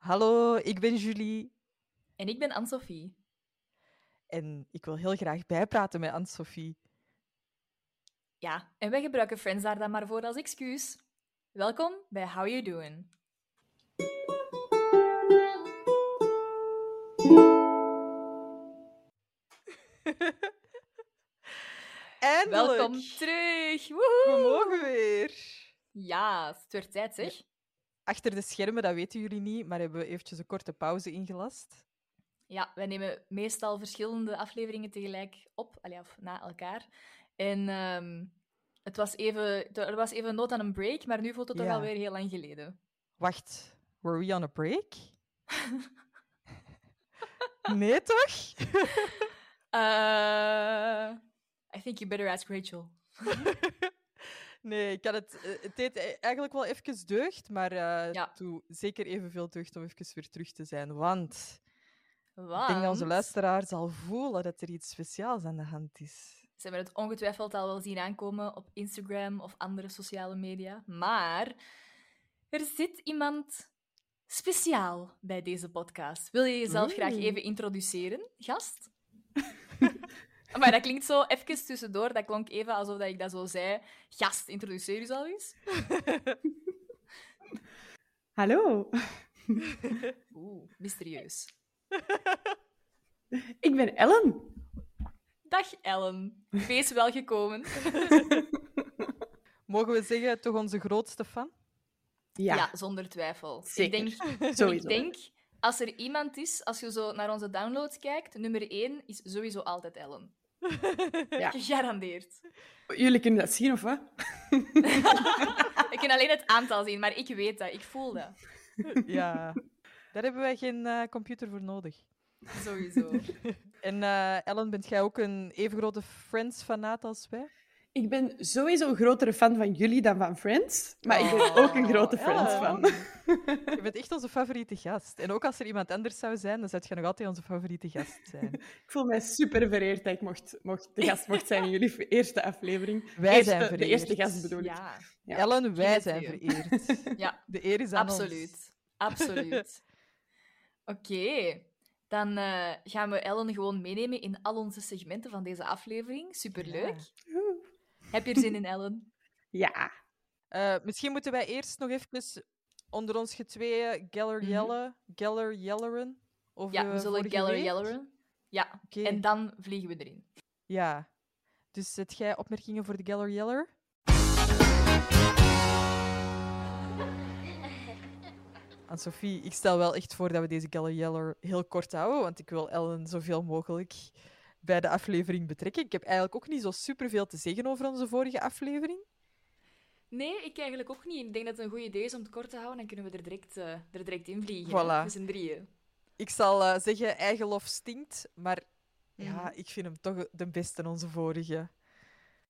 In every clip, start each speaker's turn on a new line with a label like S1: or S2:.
S1: Hallo, ik ben Julie
S2: En ik ben Anne-Sophie.
S1: en ik wil heel graag bijpraten met Anne-Sophie.
S2: Ja, en wij gebruiken Friends daar dan maar voor als excuus. Welkom bij How You Doing.
S1: Eindelijk!
S2: Welkom terug! Woehoe!
S1: We mogen weer.
S2: Ja, het werd tijd zeg.
S1: Achter de schermen, dat weten jullie niet, maar hebben we eventjes een korte pauze ingelast.
S2: Ja, wij nemen meestal verschillende afleveringen tegelijk op, allee, of na elkaar. En ehm, het was even, er was even nood aan een break, maar nu voelt het toch
S1: Ja.
S2: alweer heel lang geleden.
S1: Wacht, were we on a break? nee, toch?
S2: Eh, I think you better ask Rachel.
S1: Nee, ik had het, eh, het deed e- eigenlijk wel even deugd, maar eh
S2: Ja.
S1: doe zeker evenveel deugd om even weer terug te zijn. Want ik
S2: Want...
S1: denk dat onze luisteraar zal voelen dat er iets speciaals aan de hand is.
S2: Ze hebben het ongetwijfeld al wel zien aankomen op Instagram of andere sociale media. Maar er zit iemand speciaal bij deze podcast. Wil je jezelf graag
S1: Oeh.
S2: even introduceren, gast? maar dat klinkt zo even tussendoor. Dat klonk even alsof dat ik dat zo zei. Gast, introduceer jezelf eens.
S3: Hallo,
S2: Oeh, mysterieus.
S3: ik ben Ellen.
S2: Dag Ellen. Wees welgekomen.
S1: Mogen we zeggen, toch onze grootste fan?
S3: Ja,
S2: Ja, zonder twijfel.
S3: Zeker.
S2: Ik denk
S3: sowieso.
S2: Ik denk, als er iemand is, als je zo naar onze downloads kijkt, nummer 1 is sowieso altijd Ellen.
S3: Ja.
S2: Gegarandeerd.
S3: Jullie kunnen dat zien, of wat?
S2: Ik kan alleen het aantal zien, maar ik weet dat, ik voel dat.
S1: Ja. Daar hebben wij geen eh, computer voor nodig.
S2: Sowieso.
S1: En eh, Ellen, bent jij ook een even grote Friends-fanaat als wij?
S3: Ik ben sowieso een grotere fan van jullie dan van Friends, maar ik ben ook een grote
S1: Oh,
S3: Friends-fan.
S1: Je bent echt onze favoriete gast. En ook als er iemand anders zou zijn, dan zou je nog altijd onze favoriete gast zijn.
S3: Ik voel mij super vereerd dat ik mocht, mocht, de gast mocht zijn in jullie eerste aflevering.
S1: Wij
S3: Eerste-
S1: zijn
S3: De
S1: vereerd.
S3: eerste gast bedoel ik.
S2: Ja,
S3: Ja.
S1: Ellen, wij
S2: het
S1: zijn
S2: u.
S1: vereerd.
S2: Ja.
S1: De eer is aan ons.
S2: absoluut. Absoluut. Oké, dan eh, gaan we Ellen gewoon meenemen in al onze segmenten van deze aflevering. Superleuk.
S3: Oeh.
S2: Heb je er zin in, Ellen?
S3: Ja.
S1: Eh, misschien moeten wij eerst nog even onder ons getweeën Geller
S2: Mhm.
S1: Jelle, Geller Jelleren. Of eh,
S2: Ja, we zullen
S1: Jelleren.
S2: Geller Yelleren. Ja, en dan vliegen we erin.
S1: Ja. Dus zet jij opmerkingen voor de Geller Yeller? Aan Sophie, ik stel wel echt voor dat we deze Geller Yeller heel kort houden, want ik wil Ellen zoveel mogelijk bij de aflevering betrekken. Ik heb eigenlijk ook niet zo superveel te zeggen over onze vorige aflevering.
S2: Nee, ik eigenlijk ook niet. Ik denk dat het een goed idee is om het kort te houden. Dan kunnen we er direct, eh, er direct in vliegen. hè.
S1: Voilà.
S2: We zijn drieën.
S1: Ik zal eh, zeggen, eigen lof stinkt, maar ja,
S2: Mhm.
S1: ik vind hem toch de beste, onze vorige.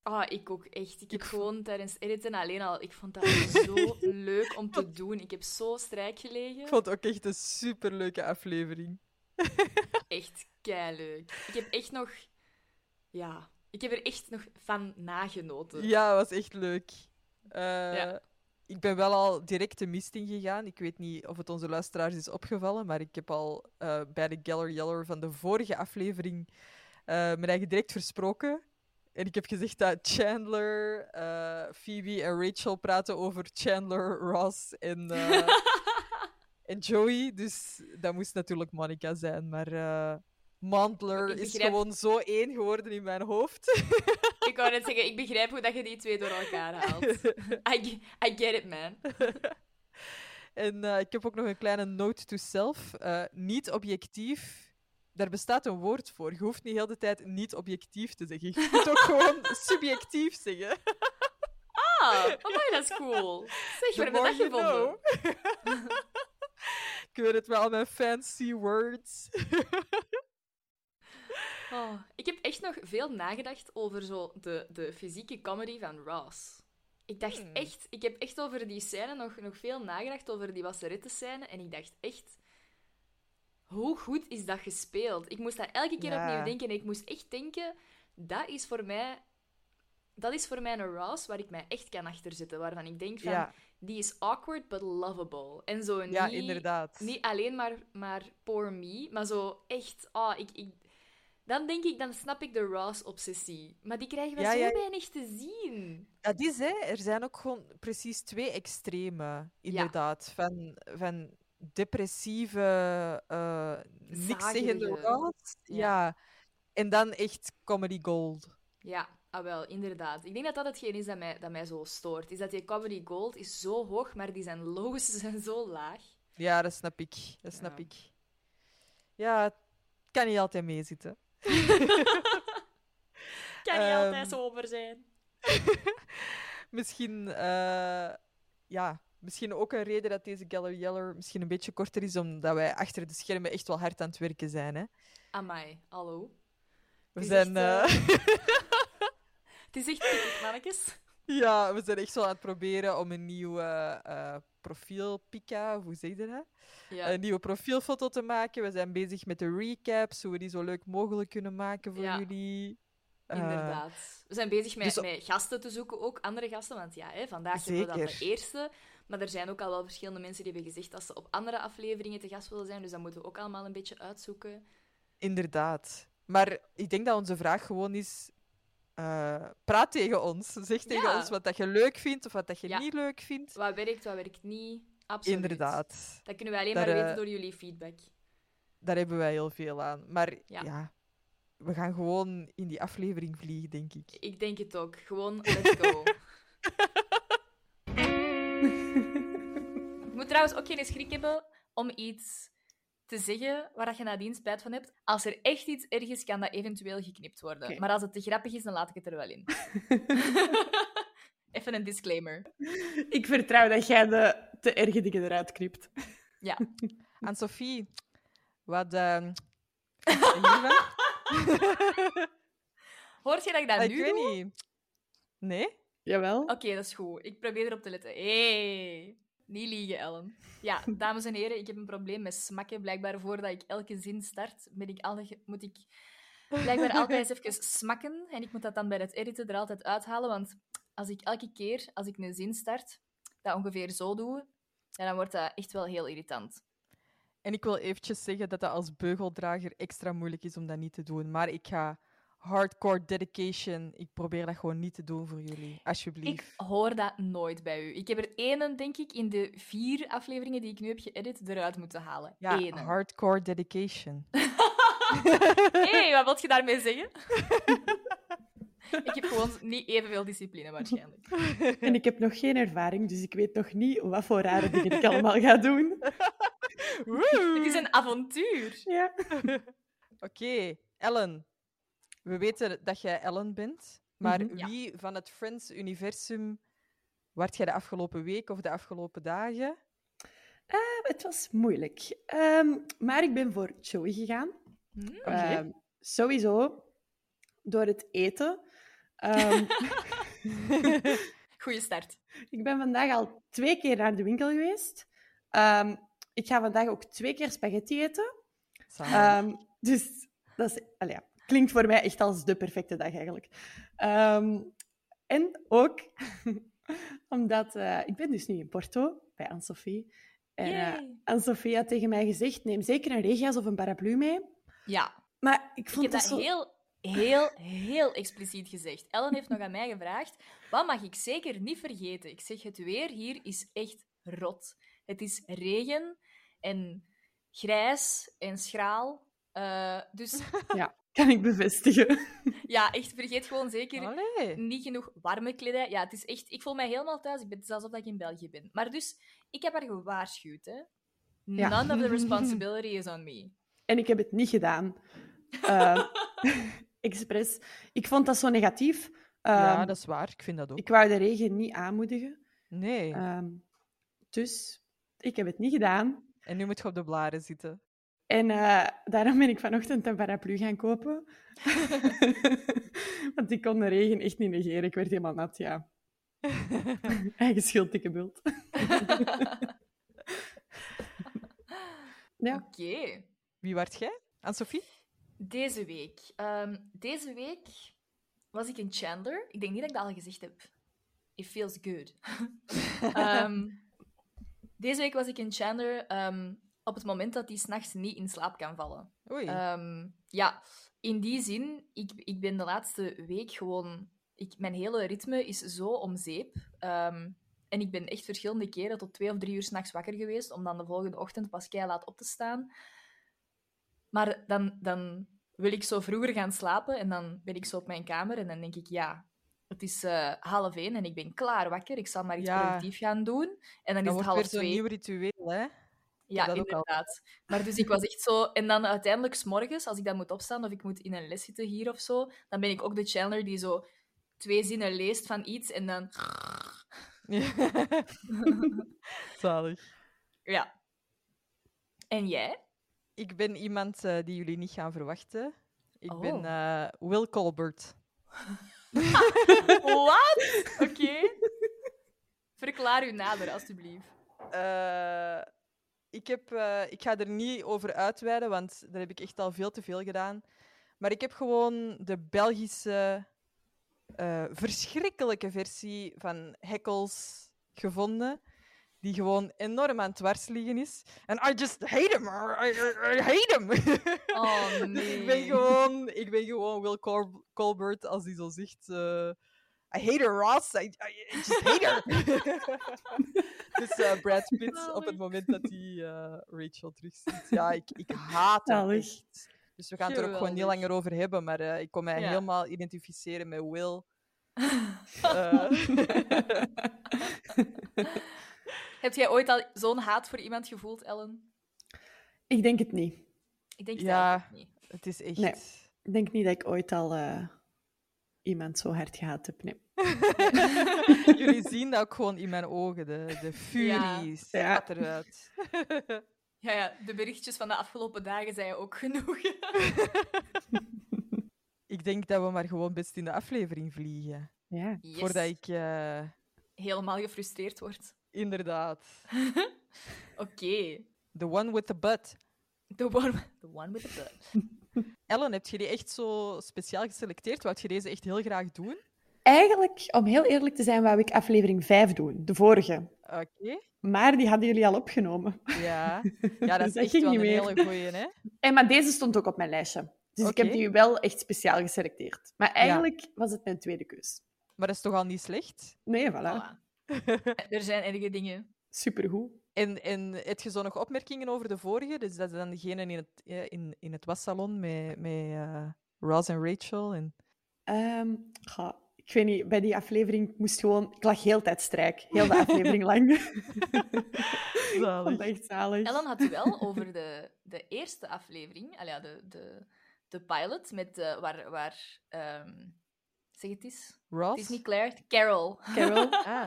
S2: Ah, ik ook echt. Ik heb
S1: Ik vo-
S2: gewoon tijdens editen alleen al... Ik vond dat zo leuk om te doen. Ik heb zo strijk gelegen.
S1: Ik vond het ook echt een superleuke aflevering.
S2: Echt leuk. Ik heb echt nog... Ja, ik heb er echt nog van nagenoten.
S1: Ja, was echt leuk. Eh,
S2: Ja.
S1: Ik ben wel al direct de mist ingegaan. Ik weet niet of het onze luisteraars is opgevallen, maar ik heb al eh, bij de Geller Yeller van de vorige aflevering eh, mijn eigen direct versproken. En ik heb gezegd dat Chandler, eh, Phoebe en Rachel praten over Chandler, Ross en, eh, en Joey. Dus dat moest natuurlijk Monica zijn. Maar eh, Mandler
S2: Ik
S1: is
S2: begrijp-
S1: gewoon zo één geworden in mijn hoofd.
S2: Ik wou net zeggen, ik begrijp hoe dat je die twee door elkaar haalt. I, ge- I get it, man.
S1: En eh, ik heb ook nog een kleine note to self. Eh, niet objectief. Daar bestaat een woord voor. Je hoeft niet heel de tijd niet objectief te zeggen. Je moet ook gewoon subjectief zeggen.
S2: Ah, amai, dat is cool. Zeg,
S1: The
S2: waar heb je
S1: more
S2: dat
S1: you
S2: gevonden?
S1: know. ik weet het wel, mijn fancy words.
S2: Oh, ik heb echt nog veel nagedacht over zo de, de fysieke comedy van Ross. Ik dacht
S1: Hmm.
S2: echt, ik heb echt over die scène nog, nog veel nagedacht, over die wasserettenscène. En ik dacht echt, hoe goed is dat gespeeld? Ik moest daar elke keer
S1: Ja.
S2: opnieuw denken. En ik moest echt denken, dat is voor mij, dat is voor mij een Ross waar ik mij echt kan achter zitten. Waarvan ik denk van,
S1: Ja,
S2: die is awkward but lovable. En zo niet,
S1: Ja, inderdaad.
S2: niet alleen maar, maar poor me, maar zo echt, ah, ik, ik, dan denk ik, dan snap ik de Ross-obsessie. Maar die krijgen we
S1: Ja,
S2: zo
S1: ja.
S2: weinig te zien.
S1: Dat is, hè. Er zijn ook gewoon precies twee extreme, inderdaad. Van, van depressieve, eh niks zeggende
S2: Zagerige.
S1: robots.
S2: Ja.
S1: Ja. En dan echt comedy gold.
S2: Ja, ah wel, inderdaad. Ik denk dat dat hetgeen is dat mij, dat mij zo stoort. Is dat die comedy gold is zo hoog, maar die zijn lows zijn zo laag.
S1: Ja, dat snap ik. Dat snap
S2: Ja.
S1: ik. Ja, het kan niet altijd meezitten.
S2: Kan niet
S1: Ehm.
S2: altijd sober zijn.
S1: Misschien, eh, ja, misschien ook een reden dat deze Geller Yeller misschien een beetje korter is, omdat wij achter de schermen echt wel hard aan het werken zijn. Hè?
S2: Amai, hallo.
S1: We
S2: Het is
S1: zijn...
S2: echt,
S1: eh,
S2: Het is echt pittig, mannetjes.
S1: Ja, we zijn echt wel aan het proberen om een nieuw eh, eh, profiel, Pika, of hoe zeg je dat?
S2: Ja.
S1: Een nieuwe profielfoto te maken. We zijn bezig met de recaps, hoe we die zo leuk mogelijk kunnen maken voor
S2: Ja.
S1: jullie. Eh,
S2: Inderdaad. We zijn bezig met,
S1: dus-
S2: met gasten te zoeken, ook andere gasten. Want ja, hè, vandaag hebben we dat
S1: Zeker.
S2: de eerste. Maar er zijn ook al wel verschillende mensen die hebben gezegd dat ze op andere afleveringen te gast willen zijn. Dus dat moeten we ook allemaal een beetje uitzoeken.
S1: inderdaad. Maar ik denk dat onze vraag gewoon is: eh, praat tegen ons. Zeg tegen
S2: Ja.
S1: ons wat dat je leuk vindt of wat dat je
S2: Ja.
S1: niet leuk vindt.
S2: Wat werkt, wat werkt niet. Absoluut.
S1: Inderdaad.
S2: Dat kunnen we alleen
S1: Daar,
S2: maar
S1: eh,
S2: weten door jullie feedback.
S1: Daar hebben wij heel veel aan. Maar
S2: Ja.
S1: ja, we gaan gewoon in die aflevering vliegen, denk ik.
S2: Ik denk het ook. Gewoon, let's go. Je moet trouwens ook geen schrik hebben om iets te zeggen waar dat je nadien spijt van hebt. Als er echt iets erg is, kan dat eventueel geknipt worden.
S3: Oké.
S2: Maar als het te grappig is, dan laat ik het er wel in. Even een disclaimer.
S3: Ik vertrouw dat jij de te erge dingen eruit knipt.
S1: Aan Sophie, wat. ehm, hiervan?
S2: Hoort je dat ik dat
S1: ik
S2: nu
S1: weet
S2: doe?
S1: niet. Nee?
S3: Jawel.
S2: Oké, dat is goed. Ik probeer erop te letten. Hey. Niet liegen, Ellen. Ja, dames en heren, ik heb een probleem met smakken. Blijkbaar voordat ik elke zin start, ben ik altijd, moet ik blijkbaar altijd eens even smakken. En ik moet dat dan bij het editen er altijd uithalen. Want als ik elke keer, als ik een zin start, dat ongeveer zo doe, ja, dan wordt dat echt wel heel irritant.
S1: En ik wil eventjes zeggen dat dat als beugeldrager extra moeilijk is om dat niet te doen. Maar ik ga hardcore dedication. Ik probeer dat gewoon niet te doen voor jullie. Alsjeblieft.
S2: Ik hoor dat nooit bij u. Ik heb er één, denk ik, in de vier afleveringen die ik nu heb geëdit, eruit moeten halen.
S1: ja,
S2: Ene.
S1: hardcore dedication.
S2: Hé, wat wil je daarmee zeggen? ik heb gewoon niet evenveel discipline waarschijnlijk.
S3: En ik heb nog geen ervaring, dus ik weet nog niet wat voor rare dingen ik allemaal ga doen.
S2: Het is een avontuur.
S3: Ja.
S1: Oké, Ellen. We weten dat jij Ellen bent. Maar
S3: Mhm.
S2: Ja.
S1: wie van het Friends-universum werd jij de afgelopen week of de afgelopen dagen?
S3: Het was moeilijk. Ehm, maar ik ben voor Joey gegaan.
S1: Oké.
S3: Ehm, sowieso door het eten. Ehm,
S2: Goeie start.
S3: ik ben vandaag al twee keer naar de winkel geweest. Ehm, ik ga vandaag ook twee keer spaghetti eten.
S1: Zalig.
S3: Ehm, dus dat is, allee, ja, klinkt voor mij echt als de perfecte dag eigenlijk. Ehm, en ook omdat eh, ik ben dus nu in Porto bij Anne-Sophie. En eh,
S2: Yay.
S3: Anne-Sophie had tegen mij gezegd: neem zeker een regenjas of een paraplu mee.
S2: Ja,
S3: Maar ik
S2: ik
S3: vond
S2: heb
S3: dat,
S2: dat
S3: zo...
S2: heel, heel, heel expliciet gezegd. Ellen heeft nog aan mij gevraagd, wat mag ik zeker niet vergeten? Ik zeg, het weer hier is echt rot. Het is regen en grijs en schraal. Eh, dus
S3: Kan ik bevestigen.
S2: ja, echt, vergeet gewoon zeker
S1: Allee.
S2: niet genoeg warme kledij. Ja, het is echt... Ik voel mij helemaal thuis. Ik ben het is alsof ik in België ben. Maar dus, ik heb haar gewaarschuwd, hè.
S3: Ja.
S2: None of the responsibility is on me.
S3: En ik heb het niet gedaan. Eh, expres. Ik vond dat zo negatief.
S1: ja,
S3: Ehm,
S1: dat is waar. Ik vind dat ook.
S3: Ik wou de regen niet aanmoedigen.
S1: Nee.
S2: eh,
S3: Ehm, dus ik heb het niet gedaan.
S1: En nu moet je op de blaren zitten.
S3: En eh, daarom ben ik vanochtend een paraplu gaan kopen. Want ik kon de regen echt niet negeren. Ik werd helemaal nat, ja. Eigen schuld, dikke bult. Ja.
S2: Oké.
S1: Wie waart jij? Anne-Sophie?
S2: Deze week. Ehm, deze week was ik in Chandler. Ik denk niet dat ik dat al gezegd heb. It feels good. Ehm, deze week was ik in Chandler ehm, op het moment dat hij s'nachts niet in slaap kan vallen.
S1: Oei.
S2: Ehm, ja, in die zin, ik, ik ben de laatste week gewoon... Ik, mijn hele ritme is zo om zeep. Ehm, en ik ben echt verschillende keren tot twee of drie uur s'nachts wakker geweest, om dan de volgende ochtend pas kei laat op te staan. Maar dan, dan wil ik zo vroeger gaan slapen en dan ben ik zo op mijn kamer en dan denk ik, ja, het is eh, half één en ik ben klaar wakker. Ik zal maar iets
S1: Ja.
S2: productief gaan doen. En dan
S1: dat
S2: is het
S1: wordt
S2: half
S1: weer zo'n
S2: twee.
S1: nieuw ritueel, hè?
S2: Ja,
S1: dat ook al.
S2: inderdaad. Maar dus ik was echt zo... En dan uiteindelijk, s'morgens, als ik dan moet opstaan of ik moet in een les zitten hier of zo, dan ben ik ook de Chandler die zo twee zinnen leest van iets en dan...
S1: Zalig.
S2: Ja. En jij?
S1: Ik ben iemand eh, die jullie niet gaan verwachten. Ik
S2: Oh.
S1: ben eh, Will Colbert.
S2: Wat? Oké. Verklaar u nader, alstublieft.
S1: Eh, ik, heb, eh, ik ga er niet over uitweiden, want daar heb ik echt al veel te veel gedaan. Maar ik heb gewoon de Belgische eh, verschrikkelijke versie van Hekkels gevonden. Die gewoon enorm aan het dwars liggen is. En I just hate him. I, I- I hate him.
S2: Oh,
S1: Dus
S2: nee.
S1: ik ben gewoon, ik ben gewoon Will Col- Colbert als hij zo zegt. eh, I hate her, Ross. I, I- I just hate her. dus eh, Brad Pitt op het
S2: Zalig.
S1: moment dat hij eh, Rachel terugziet. Ja, ik, ik haat hem
S3: Zalig.
S1: echt. Dus we gaan het er ook gewoon niet
S2: Nou, Geweldig.
S1: langer over hebben. Maar eh, ik kon mij
S2: Ja.
S1: helemaal identificeren met Will. Eh,
S2: Heb jij ooit al zo'n haat voor iemand gevoeld, Ellen?
S3: Ik denk het niet.
S2: Ik denk
S1: Ja.
S2: het eigenlijk niet.
S1: het is echt...
S3: Nee. Ik denk niet dat ik ooit al eh, iemand zo hard gehaat heb. Nee.
S1: Jullie zien dat ook gewoon in mijn ogen. De, de furie staat eruit.
S2: Ja, ja, de berichtjes van de afgelopen dagen zijn ook genoeg.
S1: Ik denk dat we maar gewoon best in de aflevering vliegen.
S3: Ja.
S2: Yes.
S1: Voordat ik... eh,
S2: helemaal gefrustreerd wordt.
S1: inderdaad...
S2: Oké.
S1: The one with the butt.
S2: The, one, the one with the butt.
S1: Ellen, heb je die echt zo speciaal geselecteerd? Wou je deze echt heel graag doen?
S3: Eigenlijk, om heel eerlijk te zijn, wou ik aflevering 5 doen, de vorige.
S1: Oké.
S3: Maar die hadden jullie al opgenomen. Dus
S1: Ja. ja, dat is
S3: Dat
S1: echt
S3: ging
S1: wel een
S3: niet meer.
S1: hele goeie, hè?
S3: En, maar deze stond ook op mijn lijstje. Dus ik heb
S1: Oké.
S3: die wel echt speciaal geselecteerd. Maar eigenlijk was het mijn tweede keus.
S1: Maar dat is toch al niet slecht?
S3: Nee, voilà.
S1: Ah.
S2: Voilà. er zijn erge dingen.
S3: Supergoed.
S1: En, en heb je zo nog opmerkingen over de vorige? Dus dat is dan degene in het, eh, in, in het wassalon met, met eh, Ross en Rachel. En...
S3: Ehm, ja, ik weet niet, bij die aflevering ik moest gewoon... Ik lag heel de tijd strijk. Heel de aflevering lang. ik vond dat echt zalig.
S2: Ellen had wel over de, de eerste aflevering, al ja, de, de, de pilot, met eh, waar... waar ehm, zeg het eens.
S1: Ross?
S2: Het is niet Claire, Carol.
S3: Carol.
S1: Ah,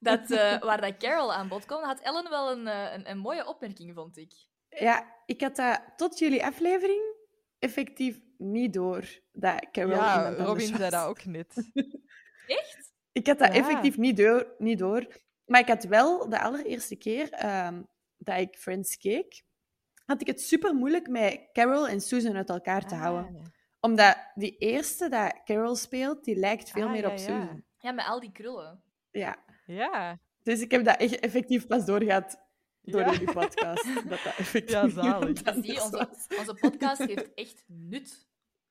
S2: Dat, eh, waar dat Carol aan bod kwam, had Ellen wel een, eh, een, een mooie opmerking, vond ik.
S3: Ja, ik had dat tot jullie aflevering effectief niet door. Dat Carol
S1: ja,
S3: iemand anders
S1: Robin zei
S3: was.
S1: dat ook net.
S2: Echt?
S3: Ik had dat
S1: Ja.
S3: effectief niet door, niet door. Maar ik had wel de allereerste keer ehm, dat ik Friends keek, had ik het super moeilijk met Carol en Susan uit elkaar te
S1: Ah.
S3: houden. Omdat die eerste dat Carol speelt, die lijkt veel
S1: Ah,
S3: meer
S1: ja,
S3: op
S1: ja.
S3: Susan.
S2: Ja, met al die krullen.
S3: Ja.
S1: Ja.
S3: Dus ik heb dat echt effectief pas doorgehad door
S1: Ja.
S3: jullie podcast. Dat dat effectief
S1: Ja, zalig.
S3: iemand
S2: Dus die,
S3: anders
S2: onze,
S3: was.
S2: onze podcast heeft echt nut.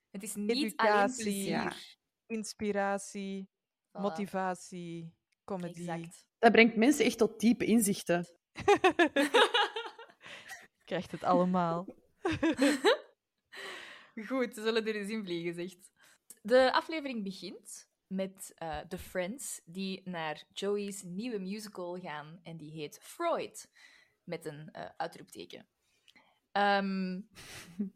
S2: Het is niet alleen
S1: Educatie.
S2: plezier.
S3: Ja.
S1: Inspiratie,
S2: Voilà.
S1: motivatie, comedy.
S2: Exact.
S3: Dat brengt mensen echt tot diepe inzichten.
S1: Krijgt het allemaal.
S2: Goed, we zullen er eens in vliegen, zegt. De aflevering begint met eh de Friends die naar Joey's nieuwe musical gaan en die heet Freud, met een eh, uitroepteken. Ehm,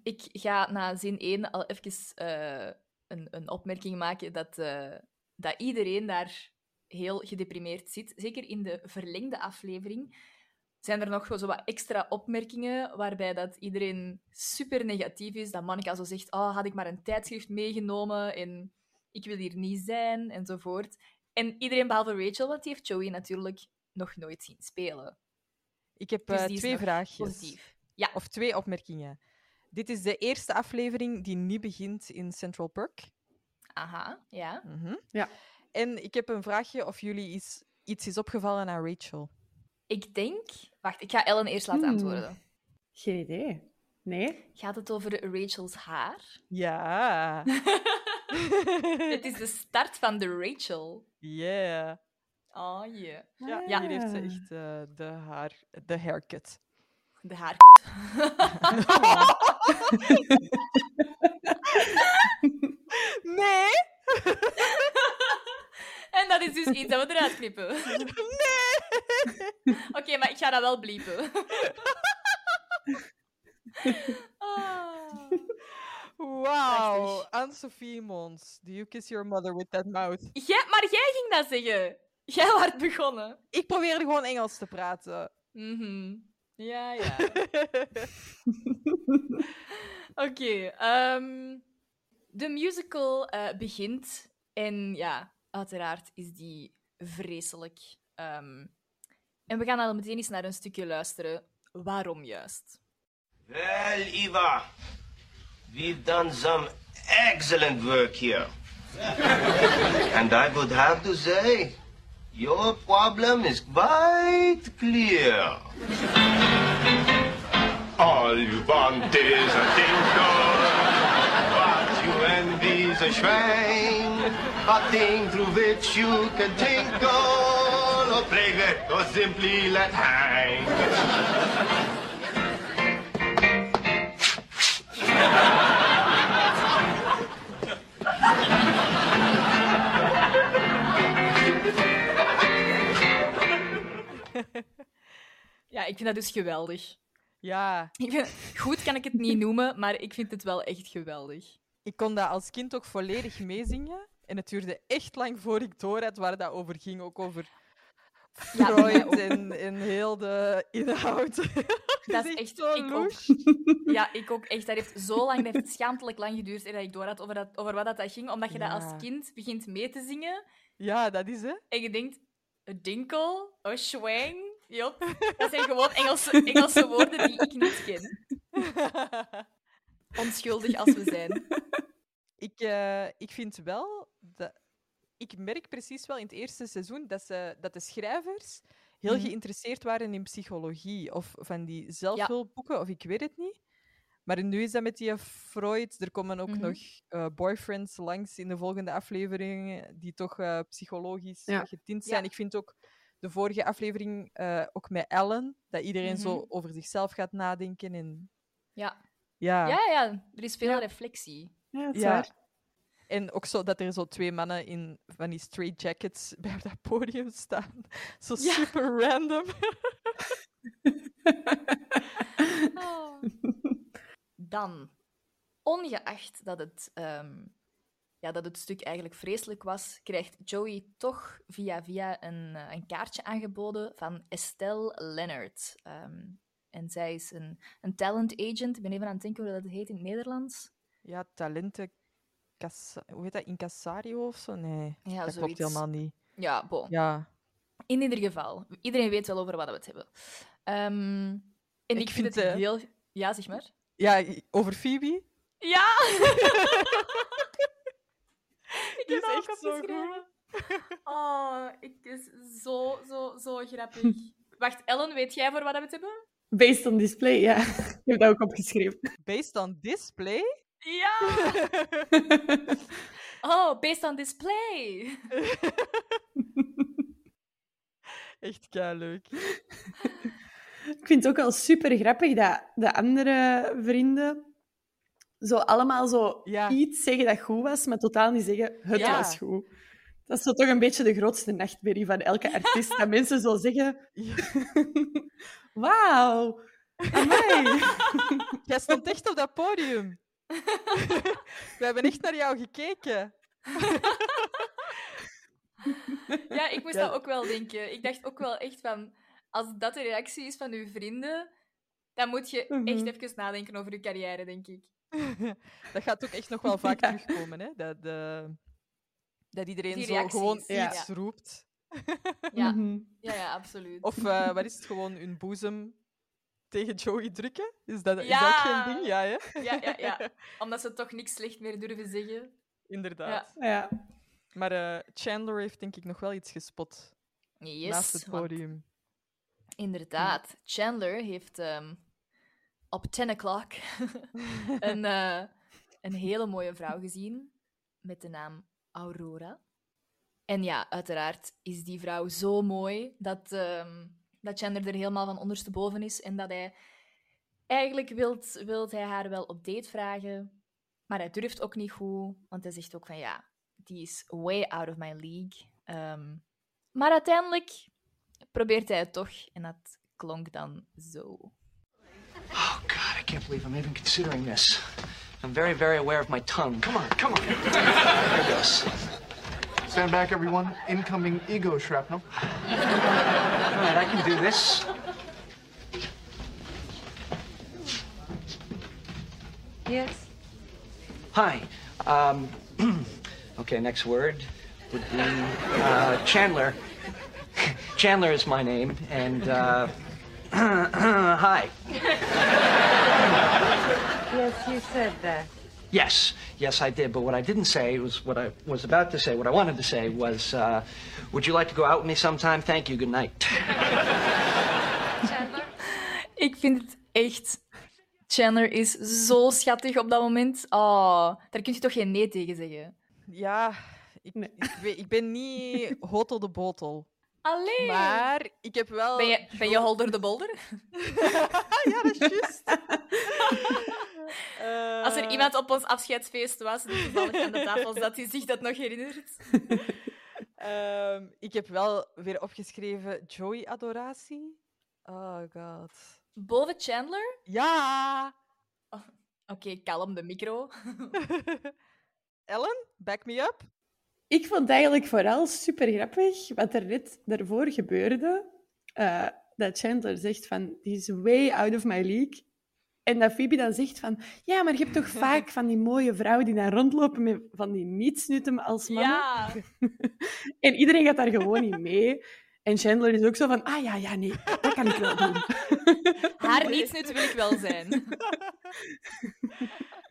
S2: ik ga na zin 1 al even eh, een, een opmerking maken dat, eh, dat iedereen daar heel gedeprimeerd zit. Zeker in de verlengde aflevering zijn er nog zo wat extra opmerkingen waarbij dat iedereen super negatief is. Dat Monica zo zegt, oh, had ik maar een tijdschrift meegenomen en ik wil hier niet zijn, enzovoort. En iedereen behalve Rachel, want die heeft Joey natuurlijk nog nooit zien spelen.
S1: Ik heb
S2: Dus
S1: eh,
S2: die is
S1: twee
S2: nog
S1: vraagjes.
S2: Positief. Ja,
S1: Of twee opmerkingen. Dit is de eerste aflevering die niet begint in Central Park.
S2: aha, ja.
S1: Mhm.
S3: Ja.
S1: En ik heb een vraagje of jullie iets, iets is opgevallen aan Rachel.
S2: Ik denk... Wacht, ik ga Ellen eerst laten
S3: Hmm.
S2: antwoorden.
S3: Geen idee. Nee?
S2: Gaat het over Rachel's haar?
S1: Ja.
S2: Het is de start van de Rachel.
S1: yeah.
S2: Oh, yeah.
S1: Ja,
S3: Ah.
S1: hier heeft ze echt eh, de, haar, de haircut.
S2: De haar...
S1: Nee!
S2: En dat is dus iets dat we eruit knippen. Oké, maar ik ga dat wel bliepen. Ah.
S1: Wauw.
S2: Prachtig.
S1: Anne-Sophie Mons. Do you kiss your mother with that mouth?
S2: Jij, maar jij ging dat zeggen. Jij werd begonnen.
S1: Ik probeerde gewoon Engels te praten.
S2: Mhm. Ja, ja. Oké. ehm, de musical eh, begint. En ja, uiteraard is die vreselijk. Ehm, en we gaan al meteen eens naar een stukje luisteren. Waarom juist?
S4: Well, Eva, we've done some excellent work here. and I would have to say, your problem is quite clear. All you want is a tinkle, but you envy's a shrine, a thing through which you can tinkle, or play with, or simply let hang.
S2: Ja, ik vind dat dus geweldig.
S1: Ja,
S2: Ik vind, goed kan ik het niet noemen, maar ik vind het wel echt geweldig.
S1: ik kon dat als kind ook volledig meezingen. En het duurde echt lang voor ik door had waar dat over ging. Ook over
S2: Ja, bij mij ook.
S1: Freud en, en heel de inhoud.
S2: Dat
S1: is
S2: is
S1: echt
S2: echt,
S1: zo
S2: ik ook. Ja, ik ook echt. Dat heeft zo lang, dat heeft schaamtelijk lang geduurd en dat ik door had over, dat, over wat dat, dat ging. Omdat je dat
S1: Ja.
S2: als kind begint mee te zingen
S1: Ja, dat is hè.
S2: en je denkt, een dinkel, een schwang, jop. Dat zijn gewoon Engelse, Engelse woorden die ik niet ken. Onschuldig als we zijn.
S1: Ik, eh, ik vind wel dat. Ik merk precies wel in het eerste seizoen dat, ze, dat de schrijvers heel
S2: Mhm.
S1: geïnteresseerd waren in psychologie of van die zelfhulpboeken, of ik weet het niet. Maar nu is dat met die Freud. Er komen ook
S2: Mhm.
S1: nog eh, boyfriends langs in de volgende afleveringen, die toch eh, psychologisch
S3: Ja.
S1: getint
S2: Ja.
S1: zijn. Ik vind ook de vorige aflevering, eh, ook met Ellen, dat iedereen zo
S2: Mhm.
S1: over zichzelf gaat nadenken. En,
S2: Ja.
S1: ja.
S2: Ja, ja, er is veel
S3: Ja.
S2: reflectie.
S3: Ja, dat is
S1: Ja.
S3: waar.
S1: En ook zo dat er zo twee mannen in van die straight jackets bij op dat podium staan. Zo
S2: Ja.
S1: super random.
S2: Oh. Dan, ongeacht dat het, ehm, ja, dat het stuk eigenlijk vreselijk was, krijgt Joey toch via via een, eh, een kaartje aangeboden van Estelle Leonard. Ehm, en zij is een, een talent agent. Ik ben even aan het denken hoe dat heet in het Nederlands.
S1: Ja, talenten. Cassa- Hoe heet dat? Incassario of zo? Nee.
S2: Ja,
S1: dat klopt
S2: zoiets.
S1: helemaal niet.
S2: Ja, bon.
S1: Ja.
S2: In ieder geval, iedereen weet wel over wat we het hebben. Ehm, en ik, vind
S1: vind,
S2: het
S1: eh,
S2: heel... Ja, zeg maar.
S1: ja, i- over Phoebe.
S2: Ja! ik
S1: Die
S2: heb
S1: is
S2: dat ook
S1: echt zo
S2: opgeschreven. Oh, ik is zo, zo, zo grappig. Wacht, Ellen, weet jij voor wat we het hebben?
S3: Based on display, ja. Ik heb dat ook opgeschreven.
S1: Based on display?
S2: Ja! Oh, based on display.
S1: Echt leuk.
S3: Ik vind het ook wel super grappig dat de andere vrienden zo allemaal zo
S1: Ja.
S3: iets zeggen dat goed was, maar totaal niet zeggen het
S1: Ja.
S3: was goed. Dat is zo toch een beetje de grootste nachtmerrie van elke artiest. Dat mensen zo zeggen, wauw, amai.
S1: Jij stond echt op dat podium. We hebben echt naar jou gekeken.
S2: Ja, ik moest
S1: Ja.
S2: dat ook wel denken. Ik dacht ook wel echt van, als dat de reactie is van uw vrienden, dan moet je
S3: Mhm.
S2: echt even nadenken over je carrière, denk ik.
S1: Dat gaat ook echt nog wel vaak
S3: Ja.
S1: terugkomen, hè? Dat, eh, dat iedereen
S2: Die
S1: zo gewoon
S2: reacties, ja.
S1: iets roept.
S2: Ja,
S3: Mhm.
S2: ja, ja absoluut.
S1: Of eh wat is het gewoon hun boezem tegen Joey drukken? Is dat, is dat
S2: Ja.
S1: ook geen ding? Ja, hè?
S2: Ja, ja, ja. Omdat ze toch niks slecht meer durven zeggen.
S1: inderdaad.
S3: Ja.
S1: Maar eh, Chandler heeft denk ik nog wel iets gespot
S2: Yes,
S1: naast het
S2: want
S1: podium.
S2: Inderdaad. Chandler heeft ehm, op 10 o'clock een, eh, een hele mooie vrouw gezien met de naam Aurora. En ja, uiteraard is die vrouw zo mooi dat, ehm, dat Chandler er helemaal van ondersteboven is en dat hij eigenlijk wilt, wilt hij haar wel op date vragen, maar hij durft ook niet goed, want hij zegt ook van ja, die is way out of my league. Ehm, maar uiteindelijk probeert hij het toch. En dat klonk dan zo.
S5: Oh, God, I can't believe I'm even considering this. I'm very, very aware of my tongue. Come on, come on. Here goes.
S6: Stand back, everyone. Incoming ego shrapnel.
S5: All right, I can do this.
S7: Yes.
S5: Hi. Um, okay, next word would be uh, Chandler. Chandler is my name, and uh, hi.
S7: Yes, you said that.
S5: Yes, yes, I did. But what I didn't say was what I was about to say. What I wanted to say was, uh, would you like to go out with me sometime? Thank you. Good night.
S2: Ik vind het echt. Chandler is zo schattig op dat moment. Oh, daar kun je toch geen nee tegen zeggen?
S1: Ja, ik,
S3: Nee.
S1: ik, weet- ik ben niet hotel de botel.
S2: Allee!
S1: Maar ik heb wel... Oh,
S2: Ben je, ben je holder de bolder?
S1: ja, dat is juist.
S2: Als er
S1: Eh,
S2: iemand op ons afscheidsfeest was, die toevallig aan de tafel zat, die zich dat nog herinnert.
S1: ehm, ik heb wel weer opgeschreven Joey-adoratie. Oh god.
S2: Boven Chandler?
S1: Ja!
S2: Oké, kalm, de micro.
S1: Ellen, back me up.
S3: Ik vond het eigenlijk vooral super grappig wat er net daarvoor gebeurde. Eh, dat Chandler zegt van, die is way out of my league. En dat Phoebe dan zegt van, ja, maar je hebt toch vaak van die mooie vrouwen die daar rondlopen met van die nietsnutten als mannen.
S2: Ja,
S3: En iedereen gaat daar gewoon niet mee. En Chandler is ook zo van, ah ja, ja, nee, dat kan ik wel doen.
S2: haar nietsnut wil ik wel zijn.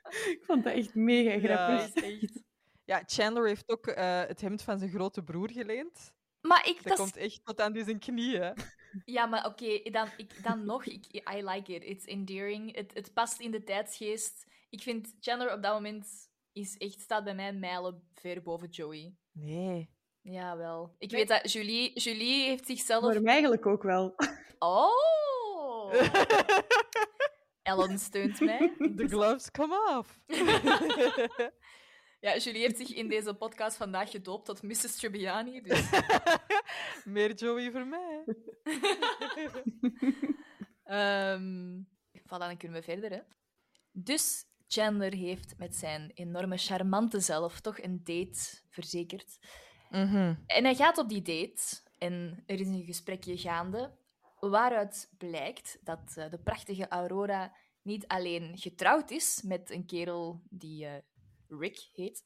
S3: Ik vond dat echt mega
S1: Ja,
S3: grappig.
S1: is echt. Ja, Chandler heeft ook eh, het hemd van zijn grote broer geleend.
S2: Maar ik,
S1: Dat
S2: dat is
S1: komt echt tot aan zijn knieën.
S2: Ja, maar oké, dan, ik, dan nog. Ik, I like it. It's endearing. Het, het past in de tijdsgeest. Ik vind Chandler op dat moment is echt, staat bij mij mijlen ver boven Joey.
S1: Nee.
S2: Jawel. Ik weet dat Julie, Julie heeft zichzelf...
S3: Voor mij eigenlijk ook wel.
S2: Oh! Ellen steunt mij.
S1: The gloves come off.
S2: Ja, Julie heeft zich in deze podcast vandaag gedoopt tot Mrs. Tribbiani. Dus...
S1: Meer Joey voor mij.
S2: Ehm voilà, dan kunnen we verder. Hè. Dus Chandler heeft met zijn enorme charmante zelf toch een date verzekerd.
S1: Mhm.
S2: En hij gaat op die date en er is een gesprekje gaande. Waaruit blijkt dat eh, de prachtige Aurora niet alleen getrouwd is met een kerel die eh, Rick heet,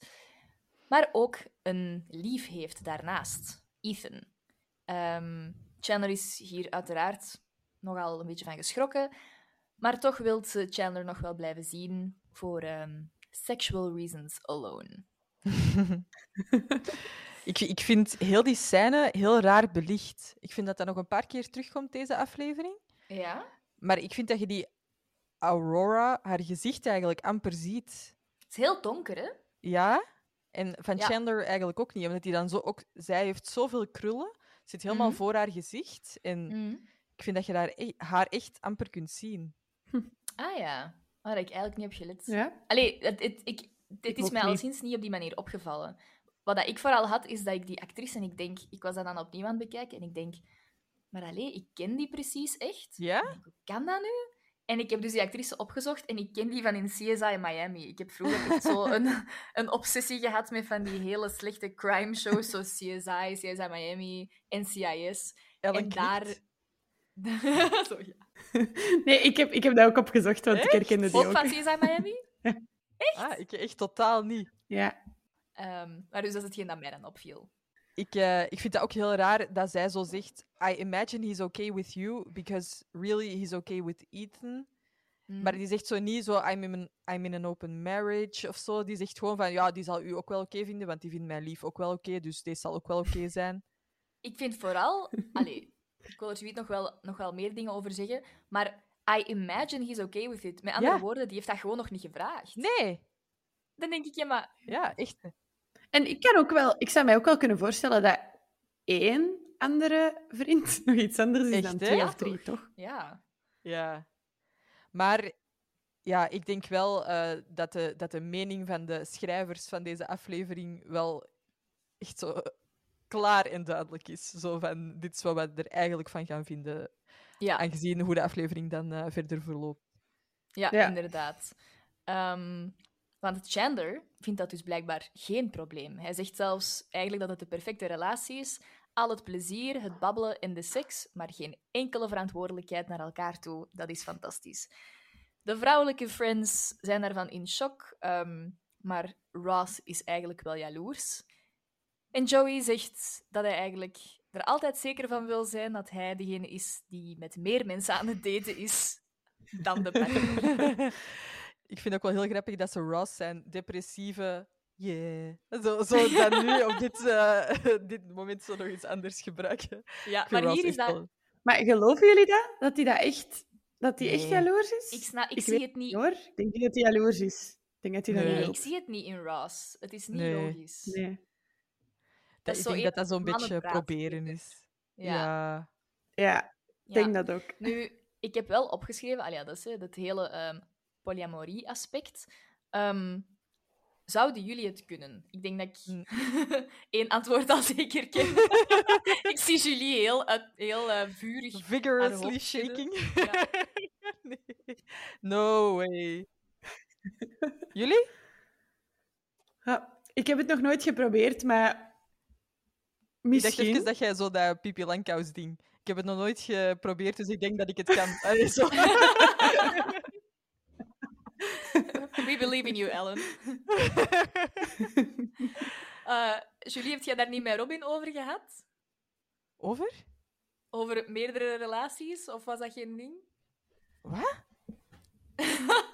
S2: maar ook een lief heeft daarnaast, Ethan. Ehm Chandler is hier uiteraard nogal een beetje van geschrokken. Maar toch wil ze Chandler nog wel blijven zien voor ehm, sexual reasons alone.
S1: Ik, ik vind heel die scène heel raar belicht. Ik vind dat dat nog een paar keer terugkomt deze aflevering.
S2: Ja?
S1: Maar ik vind dat je die Aurora, haar gezicht eigenlijk amper ziet.
S2: Het is heel donker, hè?
S1: Ja? En van
S2: Ja.
S1: Chandler eigenlijk ook niet. Omdat die dan zo ook... Zij heeft zoveel krullen. Zit helemaal
S2: Mhm.
S1: voor haar gezicht. En ik vind dat je daar e- haar echt amper kunt zien.
S2: Ah ja, waar ik eigenlijk niet op gelet.
S3: Ja?
S2: Allee, het, het, ik, dit is
S3: ook
S2: mij
S3: niet.
S2: alleszins niet op die manier opgevallen. Wat dat ik vooral had, is dat ik die actrice, en ik denk, ik was dat dan opnieuw aan het bekijken, en ik denk, maar allee, ik ken die precies echt?
S1: Ja?
S2: Ik denk, Hoe kan dat nu? En ik heb dus die actrice opgezocht en ik ken die van in CSI Miami. Ik heb vroeger echt zo een, een obsessie gehad met van die hele slechte crime shows, zoals CSI, CSI Miami, NCIS.
S1: Ellen Ah,
S2: en daar...
S1: knikt.
S2: zo, ja.
S3: Nee, ik heb, ik heb dat ook opgezocht, want ik herkende die
S2: Ook
S3: ook.
S2: van CSI Miami?
S1: Ah, ik echt totaal niet.
S3: Ja.
S2: Ehm, maar dus dat is hetgeen dat mij dan opviel.
S1: Ik, eh, ik vind dat ook heel raar dat zij zo zegt: I imagine he's okay with you, because really he's okay with Ethan.
S2: Mhm.
S1: Maar die zegt zo niet zo, I'm in, an, I'm in an open marriage of zo. Die zegt gewoon van, ja, die zal u ook wel oké vinden, want die vindt mijn lief ook wel oké, dus deze zal ook wel oké zijn.
S2: Ik vind vooral... Allee, ik wil er zoiets nog wel, nog wel meer dingen over zeggen, maar I imagine he's okay with it. Met andere
S1: Ja.
S2: woorden, die heeft dat gewoon nog niet gevraagd.
S1: Nee!
S2: Dan denk ik, ja, maar...
S1: Ja, echt.
S3: En ik, kan ook wel, ik zou mij ook wel kunnen voorstellen dat één andere vriend nog iets anders is
S1: Echt,
S3: dan
S1: hè?
S3: twee
S2: Ja,
S3: of drie,
S2: toch?
S3: toch?
S2: Ja.
S1: Ja. Maar ja, ik denk wel eh, dat, de, dat de mening van de schrijvers van deze aflevering wel echt zo eh, klaar en duidelijk is. Zo van, dit is wat we er eigenlijk van gaan vinden,
S2: Ja.
S1: aangezien hoe de aflevering dan eh, verder verloopt.
S2: Ja,
S3: Ja.
S2: inderdaad. Ehm, want Chandler vindt dat dus blijkbaar geen probleem. Hij zegt zelfs eigenlijk dat het de perfecte relatie is. Al het plezier, het babbelen en de seks, maar geen enkele verantwoordelijkheid naar elkaar toe. Dat is fantastisch. De vrouwelijke friends zijn daarvan in shock, ehm, maar Ross is eigenlijk wel jaloers. En Joey zegt dat hij eigenlijk er altijd zeker van wil zijn dat hij degene is die met meer mensen aan het daten is dan de partner.
S1: ik vind ook wel heel grappig dat ze Ross zijn depressieve... Yeah. Zo, zo dan nu op dit, eh, dit moment zo nog iets anders gebruiken.
S2: Ja,
S1: Ik vind
S2: maar
S1: Ross
S2: hier is
S1: echt
S2: dat...
S1: wel-
S3: Maar geloven jullie dat? Dat hij dat echt, dat die echt
S1: Nee.
S3: jaloers is?
S2: Ik, snap, ik,
S3: Ik
S2: zie
S3: weet
S2: het niet.
S3: hoor. Ik denk niet dat hij jaloers is. Ik denk dat hij dat
S1: Nee.
S3: niet
S2: Nee,
S3: wil.
S2: ik zie het niet in Ross. Het is niet
S1: Nee.
S2: logisch.
S3: Nee.
S1: Dat,
S2: is
S1: ik
S2: zo
S1: denk
S2: één
S1: dat dat zo'n beetje
S2: mannenpraat,
S1: proberen
S2: zeker.
S1: is.
S2: Ja.
S1: ja.
S3: Ja,
S2: ja.
S3: ik denk dat ook.
S2: Nu, ik heb wel opgeschreven, allee, ja, dat is hè, dat hele ehm, polyamorie-aspect. Ehm, zouden jullie het kunnen? Ik denk dat
S1: Hm.
S2: ik één antwoord al zeker ken. ik zie Julie heel, uit- heel eh, vurig.
S1: Vigorously
S2: hoofd schudden.
S1: shaking.
S2: Ja.
S1: Nee. No way. Jullie?
S3: Ja, ik heb het nog nooit geprobeerd, maar
S1: Ik dacht
S3: misschien.
S1: even dat jij zo dat Pipi Langkous ding. Ik heb het nog nooit geprobeerd, dus ik denk dat ik het kan. Allee, zo.
S2: We believe in you, Ellen. Eh, Julie, heb jij daar niet met Robin over gehad?
S1: Over?
S2: Over meerdere relaties? Of was dat geen ding?
S1: Wat?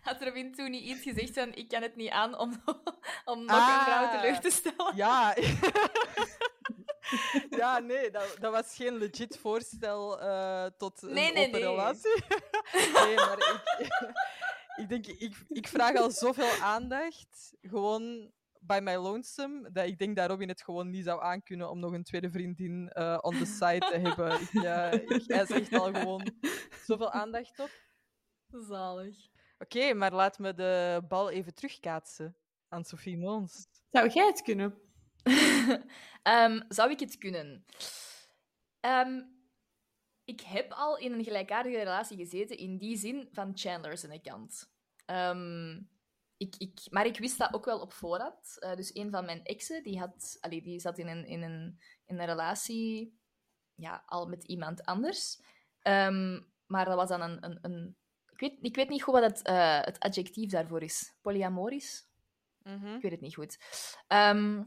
S2: Had Robin toen niet iets gezegd van ik kan het niet aan om, om nog een
S1: Ah.
S2: vrouw teleur te stellen?
S1: Ja. ja, nee, dat, dat was geen legit voorstel eh, tot
S2: Nee,
S1: een
S2: nee,
S1: open
S2: nee.
S1: relatie. nee, maar ik, ik denk, ik, ik vraag al zoveel aandacht, gewoon by my lonesome, dat ik denk dat Robin het gewoon niet zou aankunnen om nog een tweede vriendin eh, on the side te hebben. Ik, ja, ik, hij zegt al gewoon zoveel aandacht op.
S2: Zalig.
S1: Oké, maar laat me de bal even terugkaatsen aan Sophie Mons.
S3: Zou jij het kunnen?
S2: Ehm, zou ik het kunnen? Ehm, ik heb al in een gelijkaardige relatie gezeten in die zin van Chandler zijn kant. Ehm, ik, ik, maar ik wist dat ook wel op voorhand. Eh, dus een van mijn exen, die, had, allee, die zat in een, in een, in een relatie ja, al met iemand anders. Ehm, maar dat was dan een... een, een ik, weet, ik weet niet goed wat het, eh, het adjectief daarvoor is. Polyamorisch?
S1: Mhm.
S2: Ik weet het niet goed. Ehm,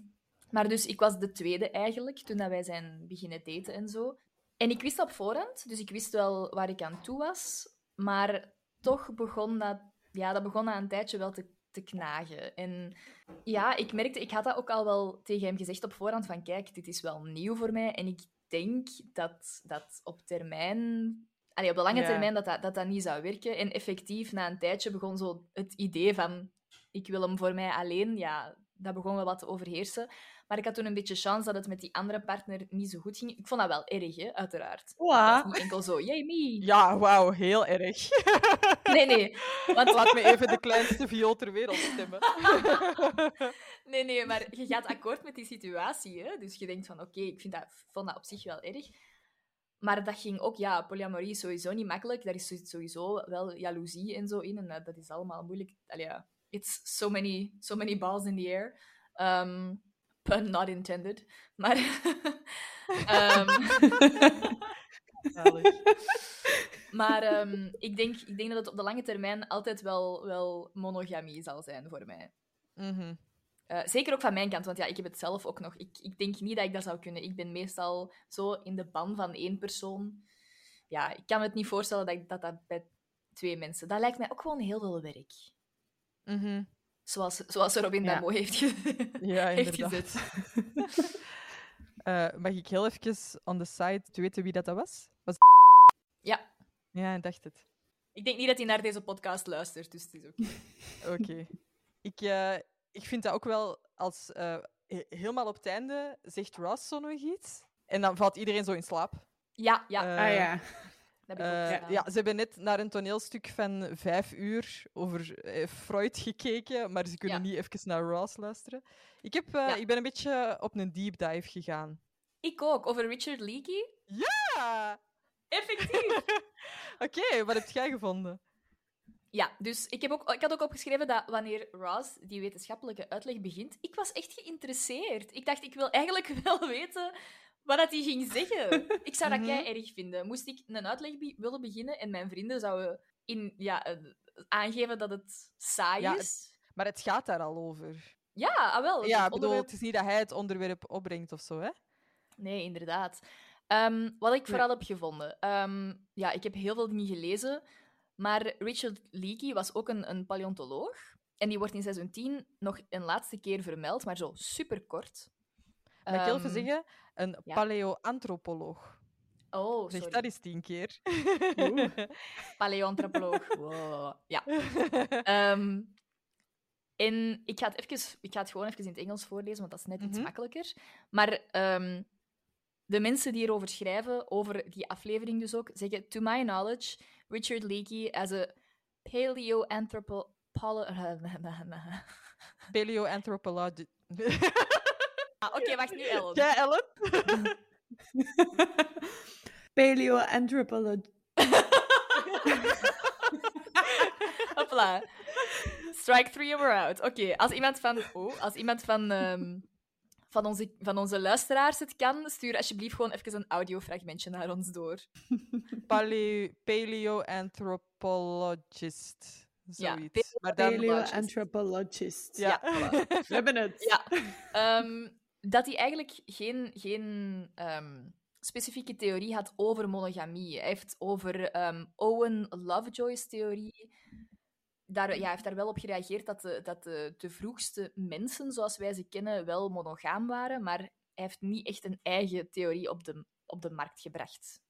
S2: maar dus ik was de tweede eigenlijk, toen dat wij zijn beginnen daten en zo. En ik wist dat op voorhand, dus ik wist wel waar ik aan toe was. Maar toch begon dat, ja, dat begon na een tijdje wel te, te knagen. En ja, ik merkte, ik had dat ook al wel tegen hem gezegd op voorhand, van kijk, dit is wel nieuw voor mij. En ik denk dat dat op termijn... Allee, op de lange
S1: Ja.
S2: termijn dat dat, dat dat niet zou werken. En effectief, na een tijdje begon zo het idee van... Ik wil hem voor mij alleen. Ja, dat begon wel wat te overheersen. Maar ik had toen een beetje chance dat het met die andere partner niet zo goed ging. Ik vond dat wel erg, hè, uiteraard. Het was
S3: Wow.
S2: niet enkel zo, yay me.
S1: Ja, wauw, heel erg.
S2: Nee, nee. Want,
S1: Laat me even de kleinste viool ter wereld stemmen.
S2: nee, nee, maar je gaat akkoord met die situatie. Hè? Dus je denkt van, oké, ik vind dat, vond dat op zich wel erg. Maar dat ging ook, ja, polyamorie is sowieso niet makkelijk. Daar is zo- sowieso wel jaloezie en zo in. En eh, dat, dat is allemaal moeilijk. Allee, ja, it's so many, so many balls in the air. Ehm, pun not intended. Maar... ehm,
S1: Zalig.
S2: Maar ehm, ik, denk, ik denk dat het op de lange termijn altijd wel, wel monogamie zal zijn voor mij.
S1: Mhm.
S2: Eh, zeker ook van mijn kant, want ja, ik heb het zelf ook nog. Ik, ik denk niet dat ik dat zou kunnen. Ik ben meestal zo in de ban van één persoon. Ja, ik kan me het niet voorstellen dat ik, dat, dat bij twee mensen. Dat lijkt mij ook gewoon heel veel werk.
S1: Mhm.
S2: Zoals, zoals Robin
S3: Ja.
S2: dat mooi heeft, ge-
S1: Ja,
S2: heeft
S1: inderdaad.
S2: gezet.
S1: Eh, mag ik heel even on the side te weten wie dat, dat was? was...
S2: Ja.
S1: Ja, ik dacht het.
S2: Ik denk niet dat hij naar deze podcast luistert, dus het is ook...
S1: Oké. ik, eh, ik vind dat ook wel als... eh, he- helemaal op het einde zegt Ross zo nog iets. En dan valt iedereen zo in slaap.
S2: Ja, ja.
S1: Eh,
S3: ah ja.
S2: dat heb ik ook
S1: Eh,
S2: gedaan.
S1: ja, ze hebben net naar een toneelstuk van vijf uur over eh, Freud gekeken, maar ze kunnen
S2: Ja.
S1: niet even naar Ross luisteren. Ik, heb, eh,
S2: Ja.
S1: ik ben een beetje op een deep dive gegaan.
S2: Ik ook, over Richard Leakey.
S1: Ah,
S2: Effectief!
S1: Oké, wat heb jij gevonden?
S2: Ja, dus ik, heb ook, ik had ook opgeschreven dat wanneer Ross die wetenschappelijke uitleg begint, ik was echt geïnteresseerd. Ik dacht, ik wil eigenlijk wel weten wat dat hij ging zeggen. Ik zou dat
S1: Mhm.
S2: jij erg vinden. Moest ik een uitleg be- willen beginnen en mijn vrienden zouden in, ja, eh, aangeven dat het saai
S1: Ja,
S2: is...
S1: Maar het gaat daar al over.
S2: Ja, ah wel.
S1: ja,
S2: het
S1: bedoel,
S2: onderwerp-
S1: het is niet dat hij het onderwerp opbrengt of zo, hè?
S2: Nee, inderdaad. Ehm, wat ik vooral heb gevonden. ehm, ja, ik heb heel veel dingen gelezen. Maar Richard Leakey was ook een, een paleontoloog. En die wordt in seizoen 10 nog een laatste keer vermeld, maar zo superkort.
S1: Mag ik heel even
S2: Ehm,
S1: zeggen? Een
S2: ja.
S1: paleoantropoloog.
S2: Oh,
S1: Zeg
S2: sorry.
S1: dat eens tien keer.
S2: Paleoantropoloog. Wow. Ja. Ehm, en ik ga, het even, ik ga het gewoon even in het Engels voorlezen, want dat is net iets
S1: Mhm.
S2: makkelijker. Maar ehm, de mensen die erover schrijven, over die aflevering dus ook, zeggen: To my knowledge, Richard Leakey as a paleoanthropologist.
S1: Paleoanthropologie.
S2: ah, Oké, wacht nu, Ellen.
S1: Jij, Ellen?
S3: Paleoanthropology.
S2: Hopla. Strike three and we're out. Oké, als iemand van, oh, als iemand van, ehm, van, onze, van onze luisteraars het kan, stuur alsjeblieft gewoon even een audiofragmentje naar ons door.
S1: Paleo, paleoanthropologist.
S2: Ja,
S1: Zoiets. maar dan...
S3: Paleoanthropologist.
S1: Ja.
S3: We hebben het.
S2: Ja. Ehm, dat hij eigenlijk geen, geen ehm, specifieke theorie had over monogamie. Hij heeft over ehm, Owen Lovejoy's theorie. Daar, ja, hij heeft daar wel op gereageerd dat, de, dat de, de vroegste mensen, zoals wij ze kennen, wel monogaam waren. Maar hij heeft niet echt een eigen theorie op de, op de markt gebracht.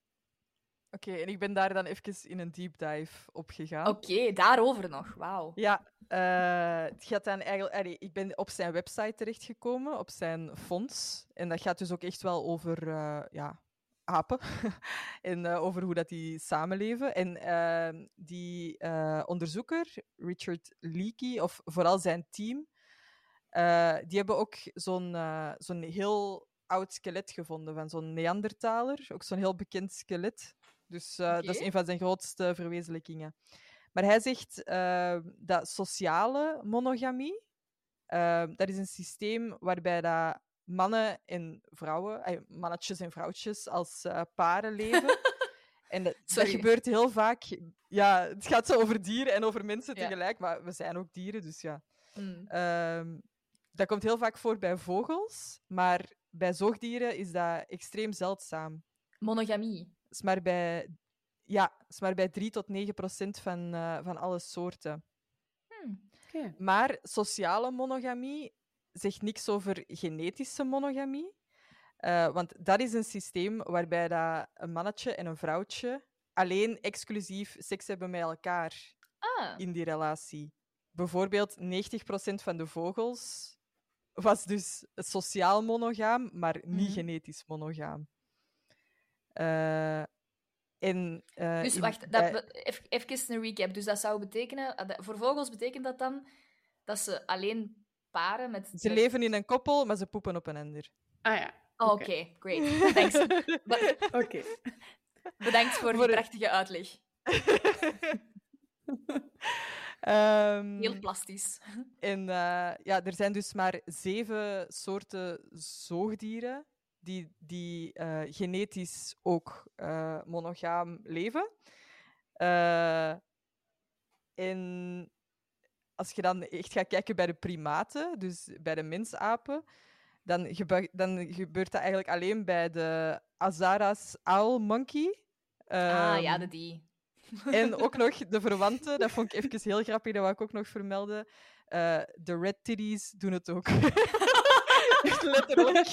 S1: Oké, en ik ben daar dan even in een deep dive op gegaan.
S2: Oké, daarover nog. Wauw.
S1: Ja, eh, het gaat dan eigenlijk. allee, ik ben op zijn website terechtgekomen, op zijn fonds. En dat gaat dus ook echt wel over eh, ja, apen en eh, over hoe dat die samenleven. En eh, die eh, onderzoeker, Richard Leakey, of vooral zijn team, eh, die hebben ook zo'n eh, zo'n heel oud skelet gevonden van zo'n Neandertaler. Ook zo'n heel bekend skelet. Dus eh, dat is
S2: Oké.
S1: een van zijn grootste verwezenlijkingen. Maar hij zegt eh, dat sociale monogamie, eh, dat is een systeem waarbij dat mannen en vrouwen, eh, mannetjes en vrouwtjes als eh, paren leven. en dat, dat
S2: Sorry.
S1: gebeurt heel vaak. Ja, het gaat zo over dieren en over mensen
S2: Ja.
S1: tegelijk, maar we zijn ook dieren, dus ja.
S2: Hmm.
S1: Ehm, dat komt heel vaak voor bij vogels, maar bij zoogdieren is dat extreem zeldzaam.
S2: Monogamie.
S1: Het is maar bij, ja, het is maar bij 3 tot 9 procent van, eh, van alle soorten.
S3: Oké.
S1: Maar sociale monogamie zegt niks over genetische monogamie. eh, want dat is een systeem waarbij dat een mannetje en een vrouwtje alleen exclusief seks hebben met elkaar
S2: Ah,
S1: in die relatie. Bijvoorbeeld 90% van de vogels was dus sociaal monogaam, maar niet
S2: Mhm.
S1: genetisch monogaam. Eh, en, eh,
S2: Dus
S1: in-
S2: wacht,
S1: bij-
S2: dat, be- eff- even een recap. Dus dat zou betekenen, eh, dat- voor vogels betekent dat dan dat ze alleen paren met.
S1: ze
S2: met-
S1: leven in een koppel, maar ze poepen op een ander.
S3: Ah ja,
S2: Oh, Oké,
S3: Oké.
S2: great. Thanks. Be-
S3: oké.
S2: bedankt voor die
S1: Voor-
S2: prachtige uitleg.
S1: Ehm,
S2: Heel plastisch.
S1: En eh, ja, er zijn dus maar zeven soorten zoogdieren die, die eh, genetisch ook eh, monogaam leven. Eh, en als je dan echt gaat kijken bij de primaten, dus bij de mensapen, dan, gebe- dan gebeurt dat eigenlijk alleen bij de Azara's owl monkey.
S2: ah ja,
S1: Ehm,
S2: de die.
S1: En ook nog de verwante, dat vond ik even heel grappig, dat wou ik ook nog vermelden. Eh, de red titties doen het ook. Echt letterlijk.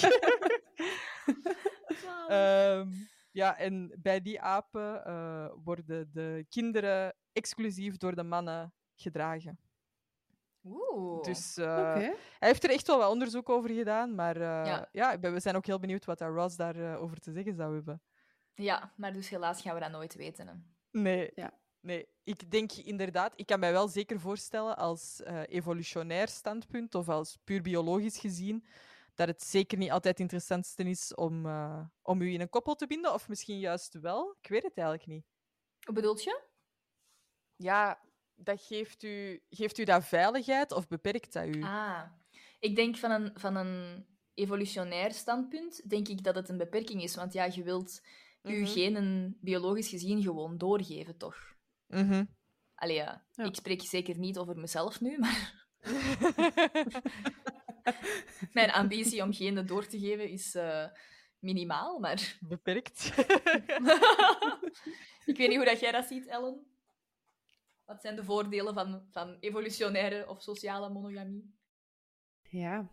S1: Ehm, ja, en bij die apen eh, worden de kinderen exclusief door de mannen gedragen.
S2: Oeh.
S1: Dus eh,
S3: Oké.
S1: hij heeft er echt wel wat onderzoek over gedaan, maar eh, ja.
S2: Ja.
S1: ik ben- we zijn ook heel benieuwd wat daar Ross daarover over te zeggen zou hebben.
S2: Ja, maar dus helaas gaan we dat nooit weten. hè.
S1: Nee.
S3: Ja.
S1: Nee, ik denk inderdaad, ik kan mij wel zeker voorstellen als eh, evolutionair standpunt of als puur biologisch gezien, dat het zeker niet altijd het interessantste is om, eh, om u in een koppel te binden, of misschien juist wel. Ik weet het eigenlijk niet.
S2: Wat bedoelt je?
S1: Ja, dat geeft u, geeft u dat veiligheid of beperkt dat u?
S2: Ah, ik denk van een, van een evolutionair standpunt, denk ik dat het een beperking is. Want ja, je wilt
S1: Mhm.
S2: je genen biologisch gezien gewoon doorgeven, toch?
S1: Mhm.
S2: Allee, ja.
S3: Ja.
S2: ik spreek zeker niet over mezelf nu, maar mijn ambitie om genen door te geven is eh, minimaal. Maar
S1: beperkt.
S2: ik weet niet hoe dat jij dat ziet, Ellen. Wat zijn de voordelen van, van evolutionaire of sociale monogamie?
S3: Ja.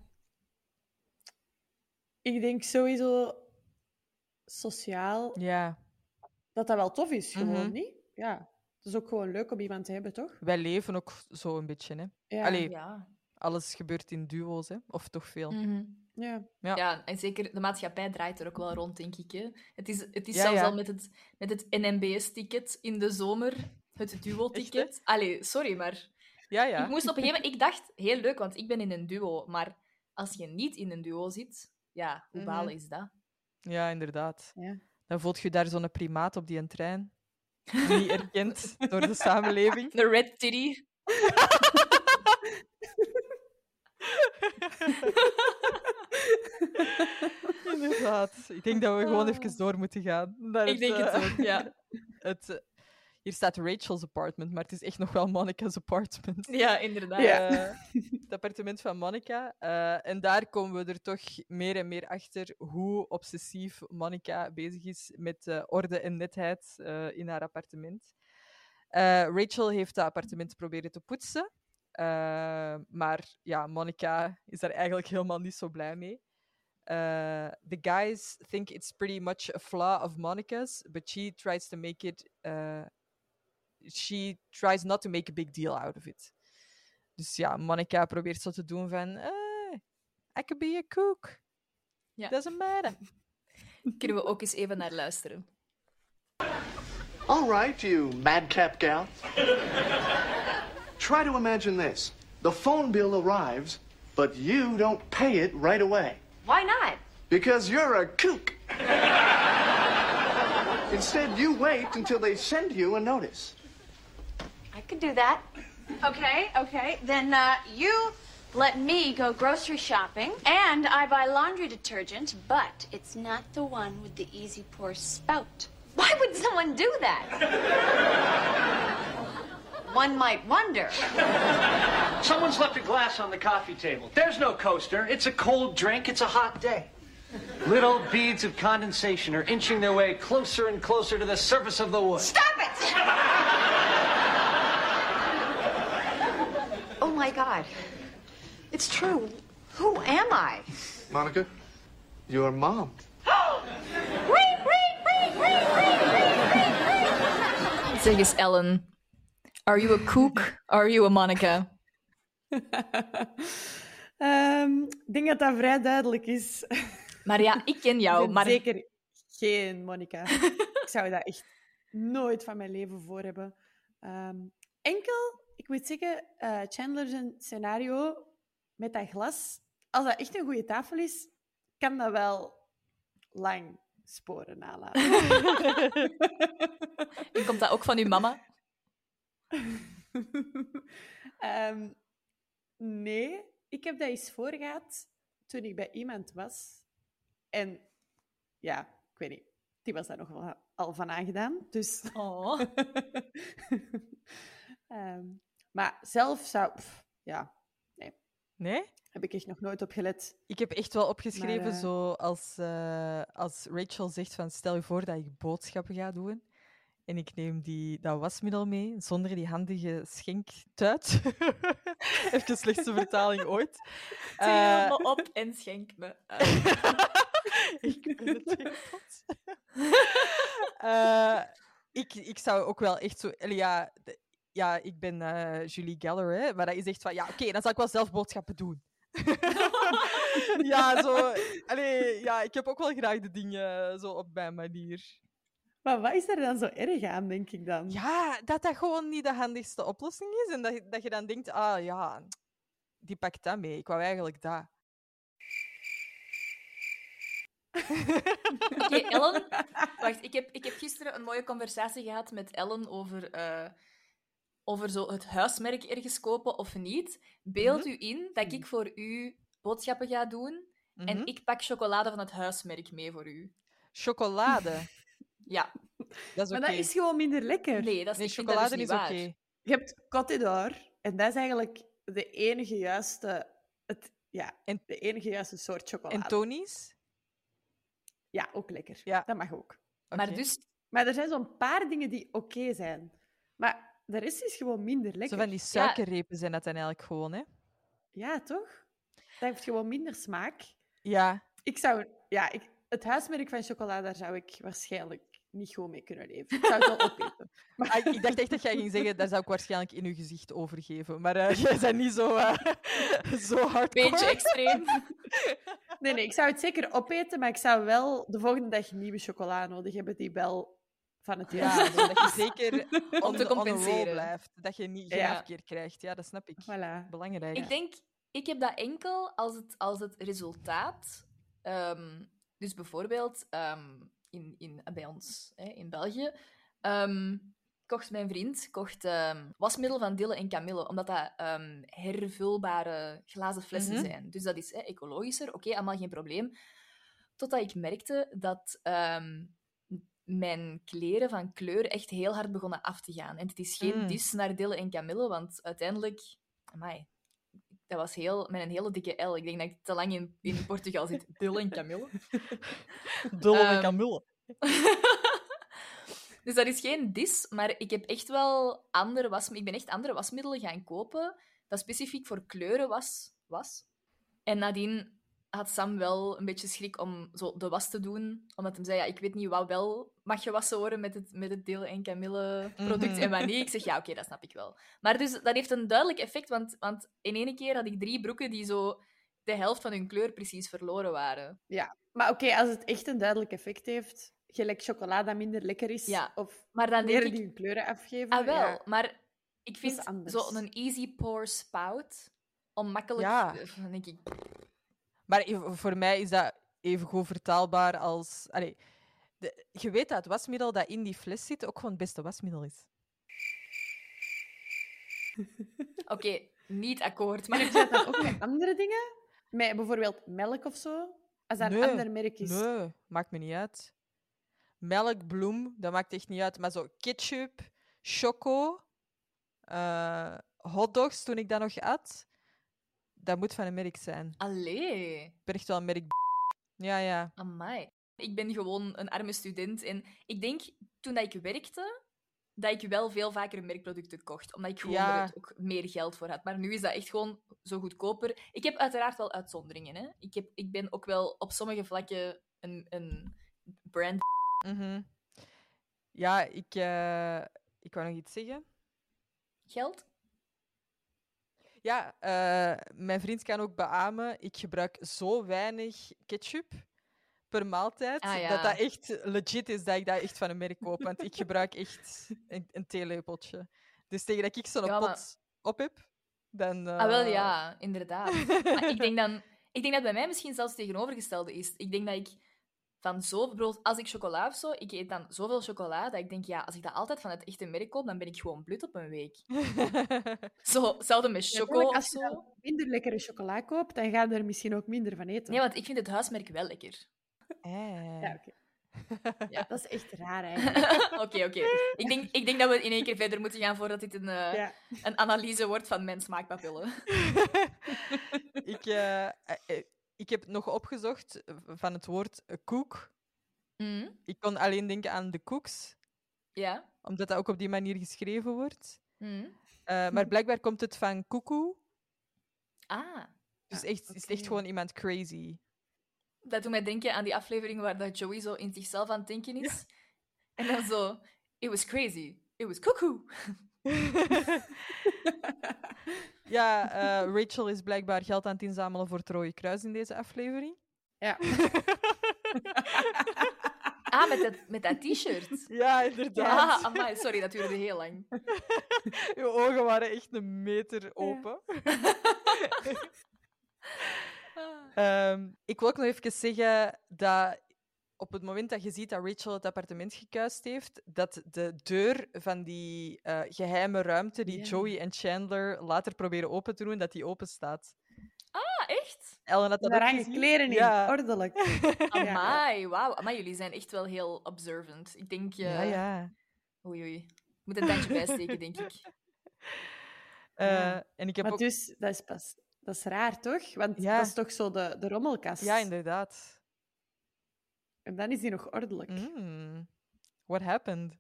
S3: Ik denk sowieso sociaal
S1: ja,
S3: dat dat wel tof is, gewoon
S1: Mhm.
S3: niet? Ja. Het is ook gewoon leuk om iemand te hebben, toch?
S1: wij leven ook zo een beetje. Hè.
S3: Ja.
S1: Allee,
S2: Ja.
S1: alles gebeurt in duo's, hè. of toch veel.
S2: Mm.
S3: Ja.
S1: Ja.
S2: Mhm. Ja. en zeker de maatschappij draait er ook wel rond, denk ik. Hè. Het is, het is
S1: Ja,
S2: zelfs
S1: ja.
S2: al met het, met het NMBS-ticket in de zomer, het duo-ticket. Allee, sorry, maar
S1: Ja, ja.
S2: ik moest op een gegeven moment... Ik dacht, heel leuk, want ik ben in een duo. Maar als je niet in een duo zit, ja, hoe
S1: Mhm.
S2: balen is dat?
S1: Ja, inderdaad.
S3: Ja.
S1: Dan voelt je daar zo'n primaat op die een trein. Niet erkend door de samenleving.
S2: De red titty.
S1: Inderdaad. Ik denk dat we gewoon even door moeten gaan. Naar
S2: Ik denk
S1: eh,
S2: het ook, ja.
S1: het, eh, hier staat Rachel's apartment, maar het is echt nog wel Monica's apartment.
S2: Ja, inderdaad.
S3: Ja.
S1: Eh, het appartement van Monica. Eh, en daar komen we er toch meer en meer achter hoe obsessief Monica bezig is met eh, orde en netheid eh, in haar appartement. Eh, Rachel heeft dat appartement proberen te poetsen. Eh, maar ja, Monica is daar eigenlijk helemaal niet zo blij mee. Uh, the guys think it's pretty much a flaw of Monica's, but she tries to make it. Uh, she tries not to make a big deal out of it. Dus ja, Monica probeert zo te doen van. eh, I could be a cook.
S2: Ja.
S1: Doesn't matter.
S2: Kunnen we ook eens even naar luisteren.
S6: All right, you madcap gal. Try to imagine this the phone bill arrives, but you don't pay it right away.
S7: Why not?
S6: Because you're a kook. Instead, you wait until they send you a notice.
S8: I could do that. Okay, okay. Then uh, you let me go grocery shopping, and I buy laundry detergent, but it's not the one with the easy pour spout.
S7: Why would someone do that?
S8: One might wonder.
S5: Someone's left a glass on the coffee table. There's no coaster. It's a cold drink. It's a hot day. Little beads of condensation are inching their way closer and closer to the surface of the wood.
S8: Stop it!
S7: Oh my god. It's true. Who am I?
S6: Monica, your mom.
S8: Wait, wait, wait, wait, wait, wait, wait.
S2: Zeg eens, Ellen. Are you a cook? Are you a Monica?
S3: Ehm, ik denk dat dat vrij duidelijk is. Ik
S2: Maar ja, ik ken jou.
S3: ben
S2: Maar
S3: zeker geen Monica. ik zou dat echt nooit van mijn leven voor hebben. Ehm, enkel, ik moet zeggen, eh Chandler's scenario met dat glas, als dat echt een goede tafel is, kan dat wel lang sporen nalaten.
S2: En komt dat ook van uw mama?
S3: Ehm, nee, ik heb dat eens voorgehad toen ik bij iemand was. En ja, ik weet niet, die was daar nog wel al van aangedaan. Dus.
S2: Oh.
S3: Ehm, maar zelf zou. pff, ja,
S1: Nee?
S3: heb ik echt nog nooit op gelet.
S1: Ik heb echt wel opgeschreven,
S3: eh,
S1: zo als, eh, als Rachel zegt van stel je voor dat ik boodschappen ga doen. En ik neem die, dat wasmiddel mee, zonder die handige schenktuit. Even de slechtste vertaling ooit.
S2: Tegel
S1: Eh,
S2: me op en schenk me uit.
S1: ik ben de tegenpot. Eh, ik, ik zou ook wel echt zo... allee, Ja, de- ja ik ben eh, Julie Geller, hè, maar dat is echt van... Ja, oké, dan zal ik wel zelf boodschappen doen. ja, zo... Allee, ja, ik heb ook wel graag de dingen eh, zo op mijn manier.
S3: Maar wat is er dan zo erg aan, denk ik dan?
S1: Ja, dat dat gewoon niet de handigste oplossing is. En dat, je- dat je dan denkt, ah ja, die pakt dat mee. Ik wou eigenlijk dat.
S2: Oké, Ellen. Wacht, ik heb, ik heb gisteren een mooie conversatie gehad met Ellen over, eh, over zo het huismerk ergens kopen of niet. Beeld u in dat ik voor u boodschappen ga doen
S1: Mhm.
S2: en ik pak chocolade van het huismerk mee voor u.
S1: Chocolade,
S2: Ja,
S1: dat is
S3: Maar
S1: oké.
S3: dat is gewoon minder lekker.
S2: nee, dat is,
S1: Nee,
S2: ik vind dat dus
S1: chocolade
S2: niet
S1: is oké.
S2: waar.
S3: Je hebt Côte d'Or en dat is eigenlijk de enige juiste, het, ja,
S1: En-
S3: de enige juiste soort chocolade.
S1: En Tony's?
S3: Ja, ook lekker.
S1: Ja.
S3: Dat mag ook.
S2: Maar
S1: Oké.
S2: dus,
S3: Maar er zijn zo'n paar dingen die oké zijn. Maar de rest is gewoon minder
S1: Zo
S3: lekker.
S1: van die suikerrepen zijn dat dan eigenlijk gewoon, hè?
S3: Ja, toch? Dat heeft gewoon minder smaak.
S1: Ja.
S3: Ik zou... Ja, ik, het huismerk van chocolade, daar zou ik waarschijnlijk niet goed mee kunnen leven. Ik zou het wel opeten.
S1: Ah, ik- ik dacht echt dat jij ging zeggen, daar zou ik waarschijnlijk in uw gezicht overgeven. Maar eh, jij bent niet zo, eh, zo hardcore.
S2: beetje extreem.
S3: Ah, Nee, nee, ik zou het zeker opeten, maar ik zou wel de volgende dag nieuwe chocola nodig hebben die wel van het
S1: Ja,
S3: jaar.
S1: zo dat je zeker
S2: Om
S1: on the- on
S2: te
S1: the roll
S2: compenseren.
S1: blijft. Dat je niet geen
S3: Ja.
S1: afkeer krijgt. Ja, dat snap ik.
S3: Voilà.
S1: Belangrijk.
S2: Ik denk, ik heb dat enkel als het, als het resultaat. ehm, dus bijvoorbeeld ehm, in, in, bij ons hè, in België. ehm, kocht mijn vriend kocht, ehm, wasmiddel van Dille en Camille, omdat dat ehm, hervulbare glazen flessen
S1: Mhm.
S2: zijn. Dus dat is hè, ecologischer. Oké, allemaal geen probleem. Totdat ik merkte dat ehm, mijn kleren van kleur echt heel hard begonnen af te gaan. En het is geen
S1: Mm.
S2: dis naar Dille en Camille, want uiteindelijk... Amai, dat was heel, met een hele dikke L. Ik denk dat ik te lang in, in Portugal zit. Dille en Camille.
S1: Dulle
S2: ehm,
S1: Camille.
S2: dus dat is geen dis, maar ik heb echt wel andere was, ik ben echt andere wasmiddelen gaan kopen dat specifiek voor kleuren was. was. En nadien had Sam wel een beetje schrik om zo de was te doen, omdat hij zei, ja, ik weet niet wat wel mag gewassen worden met het, met het deel en Camille product
S1: Mhm.
S2: en wat niet. Ik zeg, ja, oké, dat snap ik wel. Maar dus, dat heeft een duidelijk effect, want, want in ene keer had ik drie broeken die zo de helft van hun kleur precies verloren waren.
S3: Maar oké, als het echt een duidelijk effect heeft, gelijk chocola dat minder lekker is,
S2: Ja.
S3: of
S2: Maar dan denk
S3: kleren
S2: ik,
S3: die hun kleuren afgeven.
S2: Ah, wel.
S3: Nou ja.
S2: Maar ik
S3: is
S2: vind
S3: anders.
S2: zo'n easy pour spout om makkelijk...
S1: Ja.
S2: eh, dan denk ik,
S1: Maar i- voor mij is dat even goed vertaalbaar als... Allee, de- je weet dat het wasmiddel dat in die fles zit ook gewoon het beste wasmiddel is.
S2: oké, niet akkoord,
S3: Maar
S2: maar...
S3: heb je dat dan ook met andere dingen? Met bijvoorbeeld melk of zo? Als dat
S1: Nee,
S3: een ander merk is.
S1: Nee, maakt me niet uit. Melk, bloem, dat maakt echt niet uit. Maar zo ketchup, choco, eh hotdogs toen ik dat nog at, dat moet van een merk zijn.
S2: Allee,
S1: Ik ben echt wel een merk. Ja, ja.
S2: amai. Ik ben gewoon een arme student en ik denk, toen dat ik werkte, dat ik wel veel vaker merkproducten kocht, omdat ik gewoon
S1: Ja.
S2: er het ook meer geld voor had. Maar nu is dat echt gewoon zo goedkoper. Ik heb uiteraard wel uitzonderingen, hè. Ik, heb, ik ben ook wel op sommige vlakken een, een brand...
S1: mhm. Ja, ik, eh, ik wou nog iets zeggen.
S2: Geld?
S1: Ja, eh, mijn vriend kan ook beamen, ik gebruik zo weinig ketchup per maaltijd,
S2: Ah, ja.
S1: dat dat echt legit is dat ik dat echt van een merk koop. Want ik gebruik echt een, een theelepeltje. Dus tegen dat ik zo'n
S2: Ja, maar-
S1: pot op heb, dan...
S2: Ah, wel
S3: Oh.
S1: eh,
S2: ja, inderdaad. Maar ik denk dan... Ik denk dat bij mij misschien zelfs het tegenovergestelde is. Ik denk dat ik van zo... Bijvoorbeeld, als ik chocola of zo... Ik eet dan zoveel chocola dat ik denk, ja, als ik dat altijd van het echte merk koop, dan ben ik gewoon blut op een week. Zo, hetzelfde met choco
S3: Natuurlijk,
S2: of
S3: als
S2: zo.
S3: je dan minder lekkere chocola koopt, dan ga je er misschien ook minder van eten.
S2: Nee, want ik vind het huismerk wel lekker.
S1: Eh.
S3: Ja, oké.
S2: Ja.
S3: Dat is echt raar eigenlijk.
S2: Oké, oké. Ik, denk, ik denk dat we in één keer verder moeten gaan voordat dit een, eh,
S3: Ja.
S2: een analyse wordt van mijn smaakpapillen.
S1: ik, eh, eh, eh, ik heb nog opgezocht eh, van het woord eh, koek.
S2: Mhm.
S1: Ik kon alleen denken aan de koeks.
S2: Ja.
S1: omdat dat ook op die manier geschreven wordt.
S2: Mhm.
S1: Eh, maar blijkbaar komt het van koekoe.
S2: Ah.
S1: Dus echt, is het echt gewoon iemand crazy.
S2: Dat doet mij denken aan die aflevering waar dat Joey zo in zichzelf aan het denken is. En dan zo... It was crazy. It was cuckoo.
S1: Ja, eh, Rachel is blijkbaar geld aan het inzamelen voor het Rode Kruis in deze aflevering.
S3: Ja.
S2: Ah, met dat, met dat t-shirt.
S1: Ja,
S2: Ja,
S1: inderdaad.
S2: amai, sorry, dat duurde heel lang.
S1: Je ogen waren echt een meter open. Ehm, ik wil ook nog even zeggen dat op het moment dat je ziet dat Rachel het appartement gekuist heeft, dat de deur van die eh, geheime ruimte die
S3: Ja.
S1: Joey en Chandler later proberen open te doen, dat die open staat.
S2: Ah, echt?
S1: Ellen had dat
S3: Daar
S1: ook
S3: hangen
S1: gezien.
S3: kleren in, Oh,
S1: Ja.
S3: ordelijk. Ja.
S2: Amai, wauw. Amai, jullie zijn echt wel heel observant. Ik denk... eh
S1: Ja, ja.
S2: Oei, oei. Ik moet een tandje bijsteken, denk ik.
S1: Eh, en ik heb
S3: Maar
S1: ook...
S3: dus, dat is pas... Dat is raar, toch? Want
S1: Ja.
S3: dat is toch zo de, de rommelkast.
S1: Ja, inderdaad.
S3: En dan is die nog ordelijk.
S1: Mm. What happened?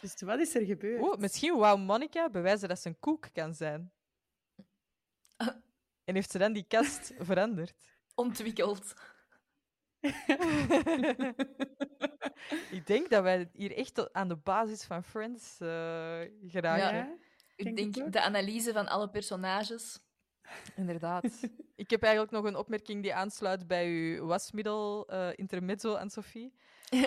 S3: Dus wat is er gebeurd?
S1: Oh, misschien wou Monica bewijzen dat ze een koek kan zijn. En heeft ze dan die kast veranderd?
S2: Ontwikkeld.
S1: Ik denk dat wij hier echt tot aan de basis van Friends eh, geraken.
S2: Ja. Ik
S3: Denk het
S2: denk
S3: ook.
S2: de analyse van alle personages.
S1: Inderdaad. Ik heb eigenlijk nog een opmerking die aansluit bij uw wasmiddel eh, intermezzo aan Sophie.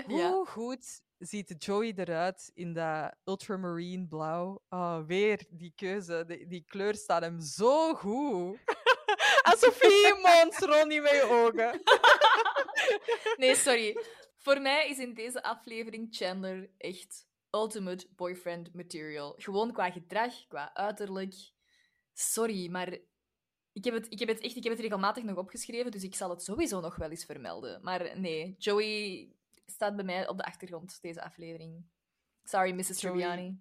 S1: Hoe
S2: ja.
S1: goed ziet Joey eruit in dat ultramarine blauw? Ah, weer die keuze, die, die kleur staat hem zo goed. Aan Sophie Monstro niet met je ogen.
S2: Nee, sorry. Voor mij is in deze aflevering Chandler echt ultimate boyfriend material. Gewoon qua gedrag, qua uiterlijk. Sorry, maar ik heb, het, ik, heb het echt, ik heb het regelmatig nog opgeschreven, dus ik zal het sowieso nog wel eens vermelden. Maar nee, Joey staat bij mij op de achtergrond deze aflevering. Sorry, Mrs.
S1: Joey.
S2: Tribbiani.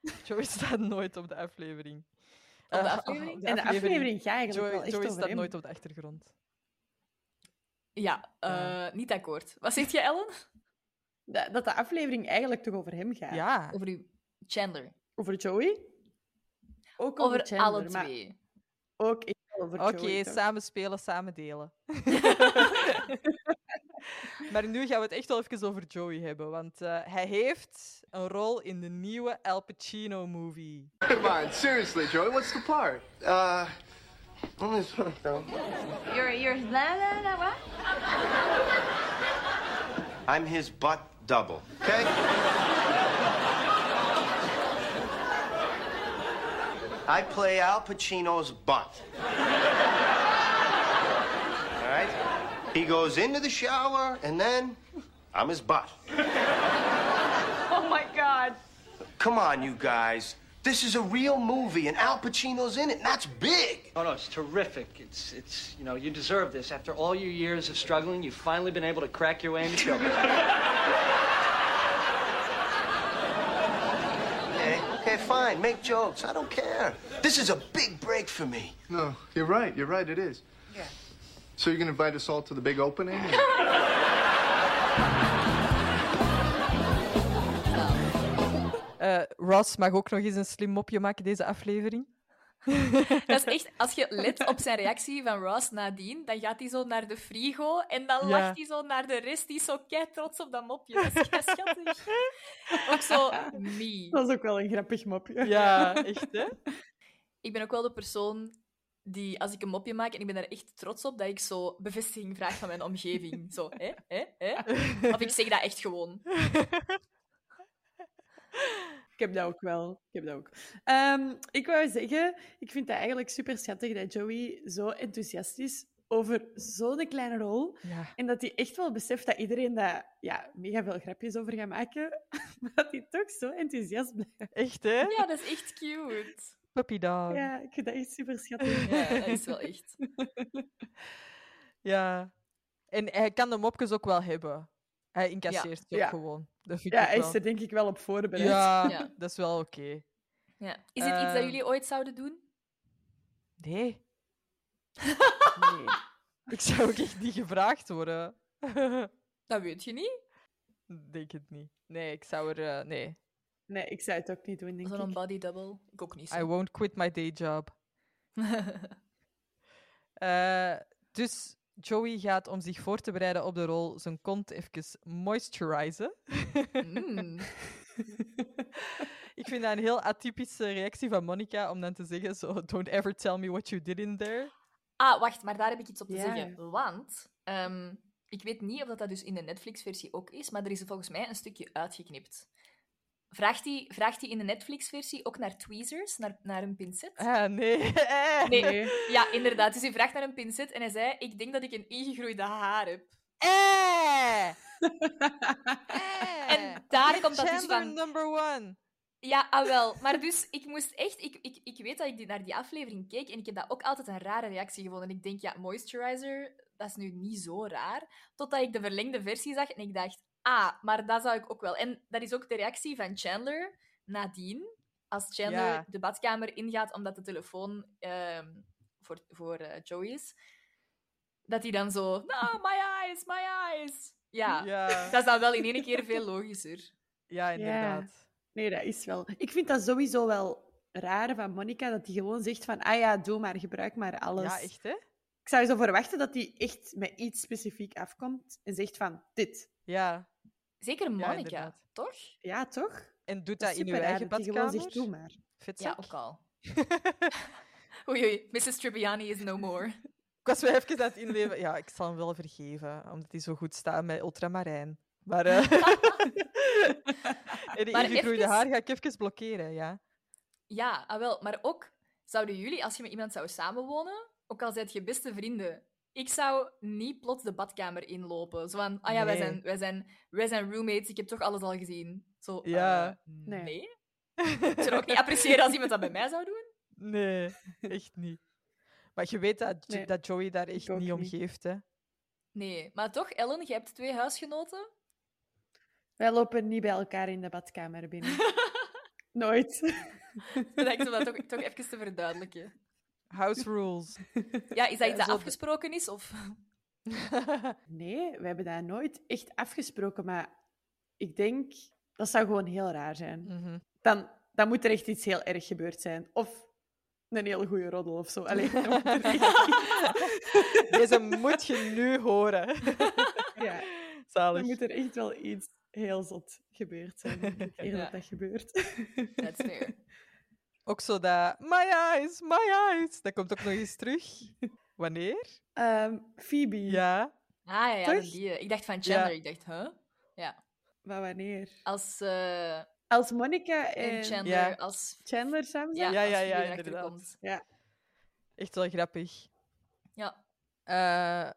S1: Joey staat nooit op de aflevering.
S2: de
S1: Eh,
S2: aflevering?
S1: op
S3: En de aflevering gaat eigenlijk
S1: Joey,
S3: wel echt
S1: Joey
S3: over
S1: staat
S3: hem.
S1: nooit op de achtergrond.
S2: Ja, eh,
S1: Ja.
S2: niet akkoord. Wat zegt je, Ellen?
S3: Dat, dat de aflevering eigenlijk toch over hem gaat.
S1: Ja.
S2: Over uw Chandler.
S3: Over Joey. Ook over,
S2: Over
S3: Chandler,
S2: alle
S3: maar
S2: twee.
S3: ook echt wel over
S1: Oké,
S3: Joey. toch?
S1: samen spelen, samen delen. maar nu gaan we het echt wel even over Joey hebben, want eh, hij heeft een rol in de nieuwe Al Pacino-movie.
S4: Come on, seriously, Joey, what's the part?
S6: Uh, let me sort of know.
S8: You're, you're, la, la, la, what?
S4: I'm his butt double.
S6: Okay.
S4: I play Al Pacino's butt. All right? He goes into the shower, and then I'm his butt.
S8: Oh my god.
S4: Come on, you guys. This is a real movie, and Al Pacino's in it, and that's big.
S5: Oh no, it's terrific. It's it's you know you deserve this. After all your years of struggling, you've finally been able to crack your way into showbiz.
S4: Okay, okay, fine. Make jokes. I don't care. This is a big break for me.
S6: No, you're right. You're right. It is. Yeah. So you're gonna invite us all to the big opening?
S1: Eh, Ross mag ook nog eens een slim mopje maken deze aflevering.
S2: Dat is echt, als je let op zijn reactie van Ross nadien, dan gaat hij zo naar de frigo en dan
S1: Ja.
S2: lacht hij zo naar de rest, die is zo kei trots op dat mopje. Dat is kei schattig. Ook zo, me.
S3: Dat is ook wel een grappig mopje.
S1: Ja, echt hè?
S2: Ik ben ook wel de persoon die, als ik een mopje maak en ik ben daar echt trots op, dat ik zo bevestiging vraag van mijn omgeving. Zo, hè, hè, hè. Of ik zeg dat echt gewoon.
S3: Ik heb dat ook wel. Ik heb dat ook. Ehm, ik wou zeggen, ik vind dat eigenlijk super schattig dat Joey zo enthousiast is over zo'n kleine rol.
S1: Ja.
S3: En dat hij echt wel beseft dat iedereen daar ja, mega veel grapjes over gaat maken. Maar dat hij toch zo enthousiast blijft.
S1: Echt hè?
S2: Ja, dat is echt cute.
S1: Puppy dog. Ja.
S3: Ja, ik vind dat echt super schattig.
S2: Ja, dat is wel echt.
S1: En hij kan de mopjes ook wel hebben. Hij incasseert ze ook
S3: Ja.
S1: gewoon. Dat vind
S3: Ja,
S1: ik
S3: hij
S1: wel.
S3: is er denk ik wel op voorbereid.
S1: Ja,
S2: Ja.
S1: dat is wel oké.
S2: Ja. Is dit iets dat
S1: Ehm.
S2: jullie ooit zouden doen?
S1: Nee,
S3: Nee.
S1: ik zou ook echt niet gevraagd worden.
S2: Dat weet je niet.
S1: Denk het niet. Nee, ik zou er... eh, nee.
S3: Nee, ik zou het ook niet doen, denk ik.
S2: Zo'n body double. Ik ook niet.
S1: I
S2: Zo.
S1: won't quit my day job. Eh, dus Joey gaat om zich voor te bereiden op de rol zijn kont even moisturizen.
S2: Mm.
S1: Ik vind dat een heel atypische reactie van Monica om dan te zeggen zo, don't ever tell me what you did in there.
S2: Ah, wacht, maar daar heb ik iets op te
S3: Ja.
S2: zeggen. Want ehm, ik weet niet of dat, dat dus in de Netflix-versie ook is, maar er is volgens mij een stukje uitgeknipt. Vraagt hij vraagt die in de Netflix-versie ook naar tweezers, naar, naar een pincet?
S1: Ah, nee.
S2: nee.
S3: Nee.
S2: Ja, inderdaad. Dus hij vraagt naar een pincet en hij zei: Ik denk dat ik een ingegroeide haar heb.
S1: Eh.
S2: En daar komt dat dus
S1: Chandler
S2: van.
S1: number one.
S2: Ja, ah wel. Maar dus, ik moest echt... Ik, ik, ik weet dat ik die, naar die aflevering keek en ik heb dat ook altijd een rare reactie gevonden. En ik denk, ja, moisturizer, dat is nu niet zo raar. Totdat ik de verlengde versie zag en ik dacht, ah, maar dat zou ik ook wel. En dat is ook de reactie van Chandler nadien, als Chandler
S1: Ja.
S2: de badkamer ingaat omdat de telefoon ehm, voor, voor eh, Joey is. Dat hij dan zo, no, my eyes, my eyes. Ja,
S1: Ja,
S2: dat is dan wel in één keer veel logischer.
S1: ja inderdaad.
S3: Nee, dat is wel. Ik vind dat sowieso wel raar van Monica dat die gewoon zegt van, ah ja, doe maar, gebruik maar alles.
S1: Ja, echt hè?
S3: Ik zou zo verwachten dat die echt met iets specifiek afkomt en zegt van, dit.
S1: Ja.
S2: Zeker Monica,
S1: inderdaad.
S2: toch?
S3: Ja, toch?
S1: En doet dat, in uw
S3: superraar
S1: eigen
S3: dat die gewoon
S1: badkamer?
S3: zegt, doe maar.
S1: Vet
S2: Ja,
S1: zak.
S2: ook al. oei, oei, Mrs. Tribbiani is no more.
S1: Ik was wel even aan het inleven. Ja, ik zal hem wel vergeven, omdat hij zo goed staat met ultramarijn. Maar, eh en die
S2: Maar
S1: ingegroeide
S2: even-
S1: haar ga ik even blokkeren, ja.
S2: Ja, ah wel, maar ook zouden jullie, als je met iemand zou samenwonen, ook al zijt je beste vrienden, ik zou niet plots de badkamer inlopen. Zo van, ah ja, wij,
S1: Nee.
S2: zijn, wij, zijn, wij zijn roommates, ik heb toch alles al gezien. Zo,
S1: Ja.
S2: eh, nee. Ik zou ook niet appreciëren als iemand dat bij mij zou doen.
S1: Nee, echt niet. Maar je weet dat, Jo-
S3: Nee,
S1: dat Joey daar echt
S3: ook
S1: niet om
S3: niet.
S1: geeft, hè.
S2: Nee, maar toch, Ellen, je hebt twee huisgenoten.
S3: Wij lopen niet bij elkaar in de badkamer binnen. Nooit.
S2: Dat lijkt me dat toch, toch even te verduidelijken.
S1: House rules.
S2: Ja, is dat iets dat
S1: zo-
S2: afgesproken is? Of...
S3: Nee, we hebben dat nooit echt afgesproken, maar ik denk, dat zou gewoon heel raar zijn.
S1: Mhm.
S3: dan, dan moet er echt iets heel erg gebeurd zijn. Of een hele goede roddel of zo. Allee, dan moet er echt-
S1: Deze moet je nu horen.
S3: ja, dan
S1: Zalig.
S3: moet er echt wel iets heel zot gebeurd zijn. denk ik, Eer
S2: Ja.
S3: dat dat gebeurt.
S2: That's fair.
S1: Ook zo dat... My eyes, my eyes. Dat komt ook nog eens terug. Wanneer?
S3: Ehm, Phoebe,
S1: Ja.
S2: Ah ja, ja
S3: Toch?
S2: dat die. eh, Ik dacht van Chandler. Ik dacht, huh?
S3: maar wanneer?
S2: Als eh,
S3: Als Monica
S2: en
S3: en Chandler,
S2: Chandler,
S1: ja.
S2: als...
S3: samen
S2: Ja,
S3: zijn?
S1: Ja,
S2: als
S1: ja,
S2: Phoebe
S1: ja,
S2: erachter
S1: inderdaad.
S2: komt.
S1: Echt wel grappig.
S2: Ja.
S1: Eh,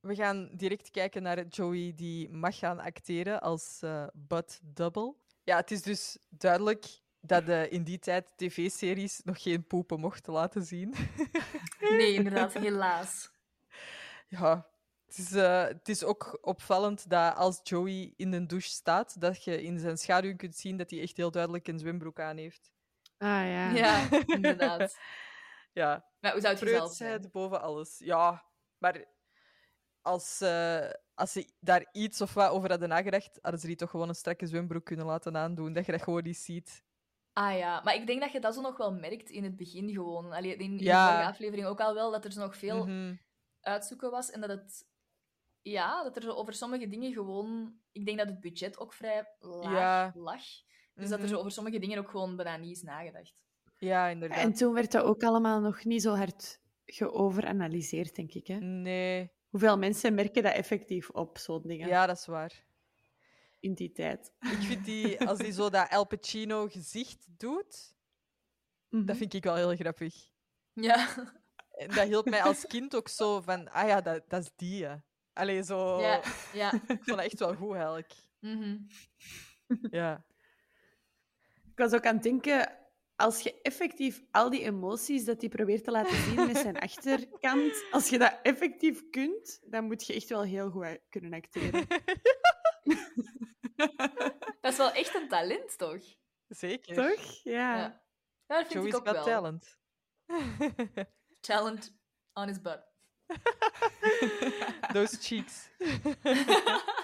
S1: we gaan direct kijken naar Joey die mag gaan acteren als eh Bud Double. Ja, het is dus duidelijk dat eh, in die tijd tv-series nog geen poepen mochten laten zien.
S2: Nee, inderdaad, helaas.
S1: Ja, het is, eh, het is ook opvallend dat als Joey in een douche staat, dat je in zijn schaduw kunt zien dat hij echt heel duidelijk een zwembroek aan heeft.
S3: Ah ja.
S2: Ja, inderdaad.
S1: Ja,
S2: Maar hoe zou het jezelf zijn?
S1: preutsheid boven alles. Ja, maar als, eh, als ze daar iets of wat over hadden nagedacht, hadden ze die toch gewoon een strakke zwembroek kunnen laten aandoen, dat je dat gewoon niet ziet.
S2: Ah ja, maar ik denk dat je dat zo nog wel merkt in het begin gewoon. Allee, in, in
S1: Ja.
S2: de vorige aflevering ook al wel, dat er zo nog veel
S1: Mhm.
S2: uitzoeken was. En dat het... Ja, dat er zo over sommige dingen gewoon... Ik denk dat het budget ook vrij
S1: Ja.
S2: laag lag. Dus dat er
S1: Mhm.
S2: zo over sommige dingen ook gewoon bijna niet is nagedacht.
S1: Ja, inderdaad.
S3: En toen werd dat ook allemaal nog niet zo hard geoveranalyseerd, denk ik. Hè?
S1: Nee,
S3: Hoeveel mensen merken dat effectief op, zo'n
S1: ja.
S3: dingen,
S1: dat is waar.
S3: in die tijd?
S1: Ik vind die, als die zo dat El Pacino gezicht doet,
S3: Mhm.
S1: dat vind ik wel heel grappig.
S2: Ja.
S1: En dat hield mij als kind ook zo van, ah ja, dat, dat is die. hè. Allee, zo,
S2: Ja, ja.
S1: ik vond dat echt wel goed, Helk.
S2: Mhm.
S1: Ja.
S3: Ik was ook aan het denken, als je effectief al die emoties dat hij probeert te laten zien met zijn achterkant, als je dat effectief kunt, dan moet je echt wel heel goed a- kunnen acteren.
S2: Dat is wel echt een talent, toch?
S1: Zeker.
S3: Toch? Ja.
S2: Ja. Ja, dat vind
S1: Joey's
S2: ik ook
S1: got
S2: wel.
S1: talent.
S2: Talent on his butt.
S1: Those cheeks.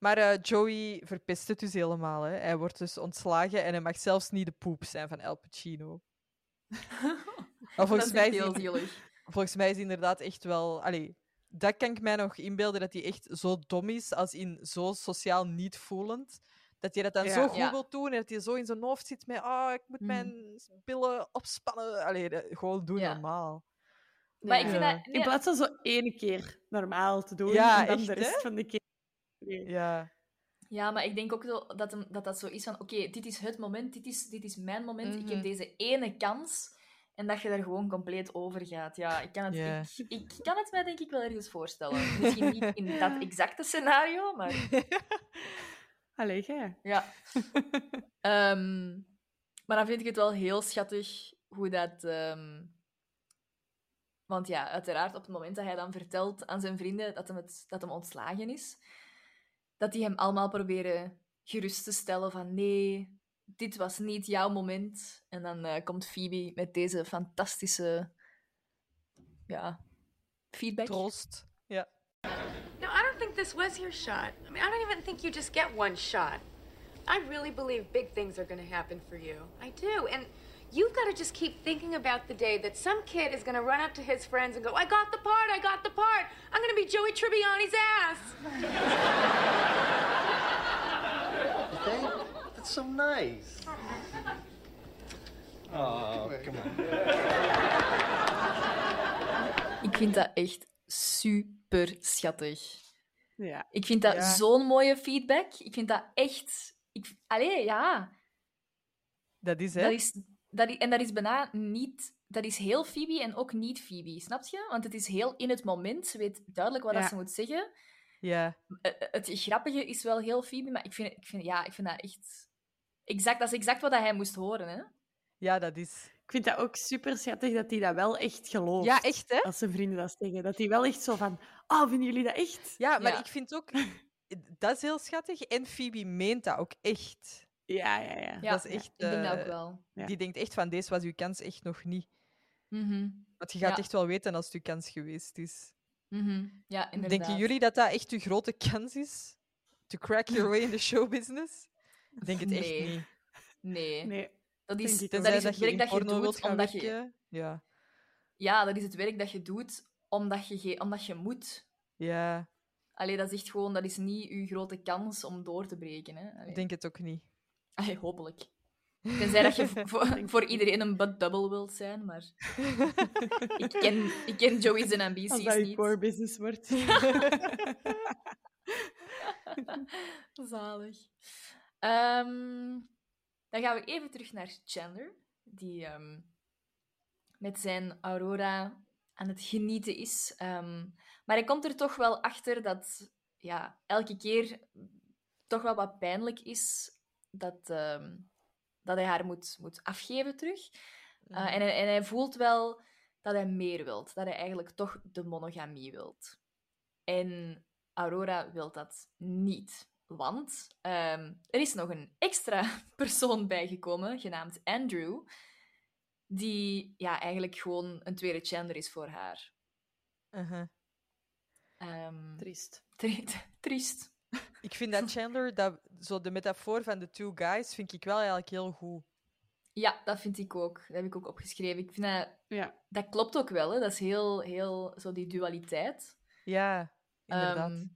S1: Maar eh, Joey verpest het dus helemaal. Hè. Hij wordt dus ontslagen en hij mag zelfs niet de poep zijn van El Pacino. maar volgens mij,
S2: dat
S1: is
S2: is
S1: die-
S2: heel zielig.
S1: volgens mij is die inderdaad echt wel... Allee, dat kan ik mij nog inbeelden, dat hij echt zo dom is, als in zo sociaal niet voelend. Dat hij dat dan
S3: Ja.
S1: zo goed
S2: Ja.
S1: wil doen en dat hij zo in zijn hoofd zit met ah, ik moet
S2: Mhm.
S1: mijn billen opspannen. Allee, dat- gewoon doen
S2: Ja.
S1: normaal.
S2: Maar ik
S3: Ja.
S2: vind dat...
S3: In
S2: nee,
S3: plaats van zo één keer normaal te doen
S1: Ja,
S3: en dan
S1: echt,
S3: de rest
S1: hè?
S3: van de keer. Nee.
S1: Ja.
S2: Ja, maar ik denk ook wel dat hem- dat, dat zo is van... Oké, dit is het moment. Dit is, dit is mijn moment. Ik
S1: Mhm.
S2: heb deze ene kans. En dat je daar gewoon compleet over gaat. Ja, ik kan het,
S1: Ja.
S2: ik, ik kan het mij denk ik wel ergens voorstellen. Misschien niet in dat exacte scenario, maar...
S3: Allee, jij.
S2: Ja. Ehm, maar dan vind ik het wel heel schattig hoe dat. ehm, want ja, uiteraard, op het moment dat hij dan vertelt aan zijn vrienden dat hem, het, dat hem ontslagen is, dat die hem allemaal proberen gerust te stellen van nee, dit was niet jouw moment. En dan eh, komt Phoebe met deze fantastische ja, feedback.
S1: Troost. Ja.
S9: No, I don't think this was your shot. I mean, I don't even think you just get one shot. I really believe big things are going to happen for you. I do. And you've got to just keep thinking about the day that some kid is going to run up to his friends and go, I got the part, I got the part. I'm going to be Joey Tribbiani's ass.
S5: Thank- That's so nice. Oh, come on.
S2: Ik vind dat echt super schattig.
S3: Ja.
S2: Ik vind dat
S1: Ja.
S2: zo'n mooie feedback. Ik vind dat echt. Ik, allee, ja.
S1: Dat is, hè?
S2: Dat is, dat i- en dat is bijna niet. Dat is heel Phoebe en ook niet Phoebe, snap je? Want het is heel in het moment. Ze weet duidelijk wat dat
S3: Ja.
S2: ze moet zeggen.
S1: Ja.
S2: Eh, eh, Het grappige is wel heel Phoebe, maar ik vind, ik vind, ja, ik vind dat echt. Exact, dat is exact wat dat hij moest horen, hè?
S1: ja, dat is.
S3: Ik vind dat ook super schattig dat hij dat wel echt gelooft.
S1: Ja, echt, hè?
S3: Als zijn vrienden dat zeggen. Dat hij wel echt zo van, oh, vinden jullie dat echt?
S1: Ja, maar
S2: Ja.
S1: ik vind ook... Dat is heel schattig. En Phoebe meent dat ook echt.
S3: Ja, ja, ja.
S2: Ja,
S1: Dat is echt,
S2: Ik denk dat
S1: eh,
S2: ook wel.
S3: Ja.
S1: Die denkt echt van, deze was uw kans echt nog niet.
S2: Mhm,
S1: Want je gaat
S2: Ja.
S1: echt wel weten als het uw kans geweest is.
S2: mhm. Ja, inderdaad.
S1: Denken jullie dat dat echt uw grote kans is? To crack your way in the showbusiness? Ik denk het echt
S2: Nee.
S1: niet.
S2: Nee.
S3: Nee.
S2: Dat is,
S3: denk ik
S2: dat
S3: ook.
S2: is het
S1: je
S2: werk
S1: in
S2: dat je
S1: porno
S2: doet
S1: wilt gaan
S2: omdat je,
S1: werken. Ja.
S2: ja, dat is het werk dat je doet omdat je, ge- omdat je moet.
S1: ja,
S2: Allee, dat is echt gewoon, dat is niet uw grote kans om door te breken. Hè? Allee.
S1: ik denk het ook niet.
S2: Allee, hopelijk. Tenzij dat je v- voor, voor iedereen een butt double wilt zijn, maar... ik, ken, ik ken Joey's en
S3: Als dat
S2: ambities
S3: je
S2: niet.
S3: core business wordt.
S2: Zalig. Ehm, dan gaan we even terug naar Chandler, die ehm, met zijn Aurora aan het genieten is. Ehm, maar hij komt er toch wel achter dat ja, elke keer toch wel wat pijnlijk is dat, ehm, dat hij haar moet, moet afgeven terug. Uh, en, hij, en hij voelt wel dat hij meer wilt, dat hij eigenlijk toch de monogamie wilt. En Aurora wil dat niet. Want ehm, er is nog een extra persoon bijgekomen, genaamd Andrew, die ja, eigenlijk gewoon een tweede Chandler is voor haar.
S1: Uh-huh.
S2: Ehm,
S3: Triest.
S2: tri- triest.
S1: Ik vind dat Chandler, dat, zo de metafoor van de two guys, vind ik wel eigenlijk heel goed.
S2: Ja, dat vind ik ook. Dat heb ik ook opgeschreven. Ik vind dat,
S3: Ja.
S2: dat klopt ook wel. Hè. Dat is heel, heel zo die dualiteit.
S1: Ja, inderdaad.
S2: Ehm,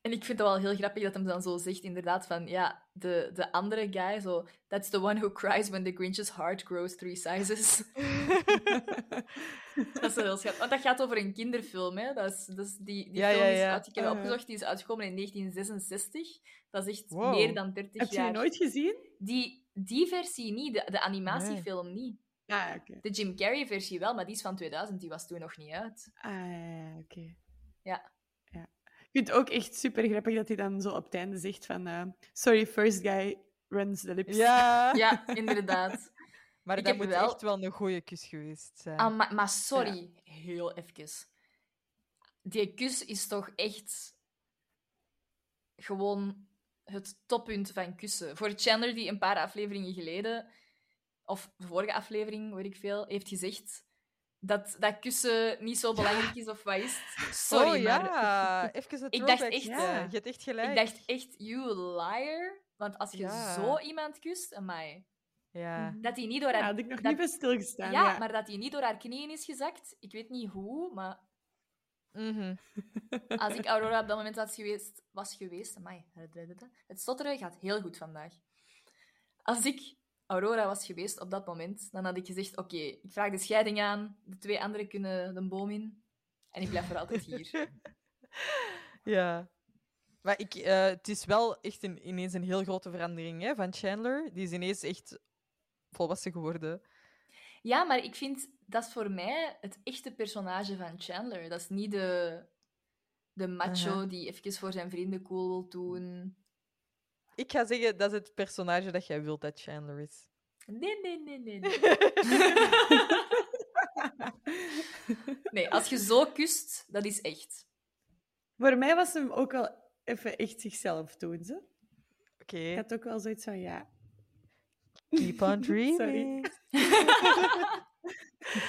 S2: en ik vind het wel heel grappig dat hem dan zo zegt, inderdaad, van ja, de, de andere guy, zo, that's the one who cries when the Grinch's heart grows three sizes. dat is wel heel schattig. Want dat gaat over een kinderfilm, hè. Dat is, dat is die, die
S1: Ja,
S2: film
S1: ja,
S2: is
S1: ja.
S2: uit, ik heb
S3: Ah,
S2: dat
S3: ja.
S2: opgezocht, die is uitgekomen in 1966. Dat is echt
S1: Wow.
S2: meer dan 30
S3: Heb je
S2: jaar.
S3: die nooit gezien?
S2: Die, die versie niet, de, de animatiefilm niet.
S3: Ah, ja, oké.
S2: De Jim Carrey versie wel, maar die is van 2000, die was toen nog niet uit.
S3: Ah, ja, ja, oké.
S2: Ja.
S3: ja. Ik vind het ook echt super grappig dat hij dan zo op het einde zegt van... eh, Sorry, first guy runs the lips.
S1: Ja,
S2: Ja, inderdaad.
S1: maar
S2: ik
S1: dat
S2: heb
S1: moet
S2: wel-
S1: echt wel een goede kus geweest zijn.
S2: Ah, maar, maar sorry, heel even. Die kus is toch echt gewoon het toppunt van kussen. Voor Chandler, die een paar afleveringen geleden, of de vorige aflevering, weet ik veel, heeft gezegd dat, dat kussen niet zo belangrijk is of wat is het?
S1: oh,
S2: Sorry, maar
S1: ja. Even het
S2: Ik dacht
S1: throwback.
S2: echt-
S1: Ja, je hebt echt gelijk.
S2: ik dacht echt, you liar. Want als je
S1: Ja.
S2: zo iemand kust, amai.
S1: Ja.
S2: Dat hij niet door
S3: Ja,
S2: haar...
S3: had ik nog
S2: dat-
S3: niet bij stilgestaan.
S2: ja,
S3: ja.
S2: maar dat hij niet door haar knieën is gezakt. Ik weet niet hoe, maar
S1: Mhm.
S2: als ik Aurora op dat moment was geweest... Was geweest amai, het stotteren gaat heel goed vandaag. Als ik Aurora was geweest op dat moment, dan had ik gezegd... Oké, ik vraag de scheiding aan. De twee anderen kunnen de boom in. En ik blijf voor altijd hier.
S1: Ja. Maar ik, eh, het is wel echt een, ineens een heel grote verandering hè, van Chandler. Die is ineens echt volwassen geworden.
S2: Ja, maar ik vind dat is voor mij het echte personage van Chandler. Dat is niet de, de macho
S1: Aha.
S2: die even voor zijn vrienden cool wil doen.
S1: Ik ga zeggen, dat is het personage dat jij wilt dat Chandler is.
S2: Nee, nee, nee, nee. Nee, nee als je zo kust, dat is echt.
S3: Voor mij was hem ook wel even echt zichzelf toen. Ze.
S1: Oké,
S3: Ik had ook wel zoiets van, ja.
S1: keep on dreaming.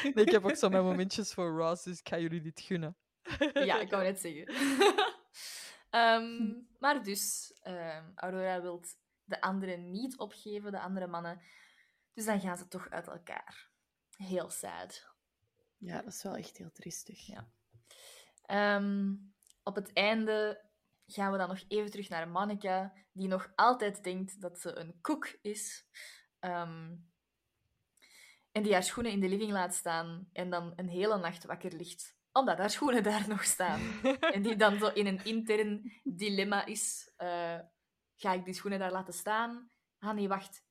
S1: Nee, ik heb ook zo mijn momentjes voor Ross, dus ik ga jullie dit gunnen.
S2: Ja, ik wou net zeggen. Ehm, maar dus, ehm, Aurora wil de anderen niet opgeven, de andere mannen. Dus dan gaan ze toch uit elkaar. Heel sad.
S3: Ja, dat is wel echt heel triestig.
S2: Ja. Ehm, op het einde gaan we dan nog even terug naar Monica, die nog altijd denkt dat ze een koek is. Ehm, en die haar schoenen in de living laat staan en dan een hele nacht wakker ligt, omdat haar schoenen daar nog staan. en die dan zo in een intern dilemma is: eh, ga ik die schoenen daar laten staan? Ah nee, wacht.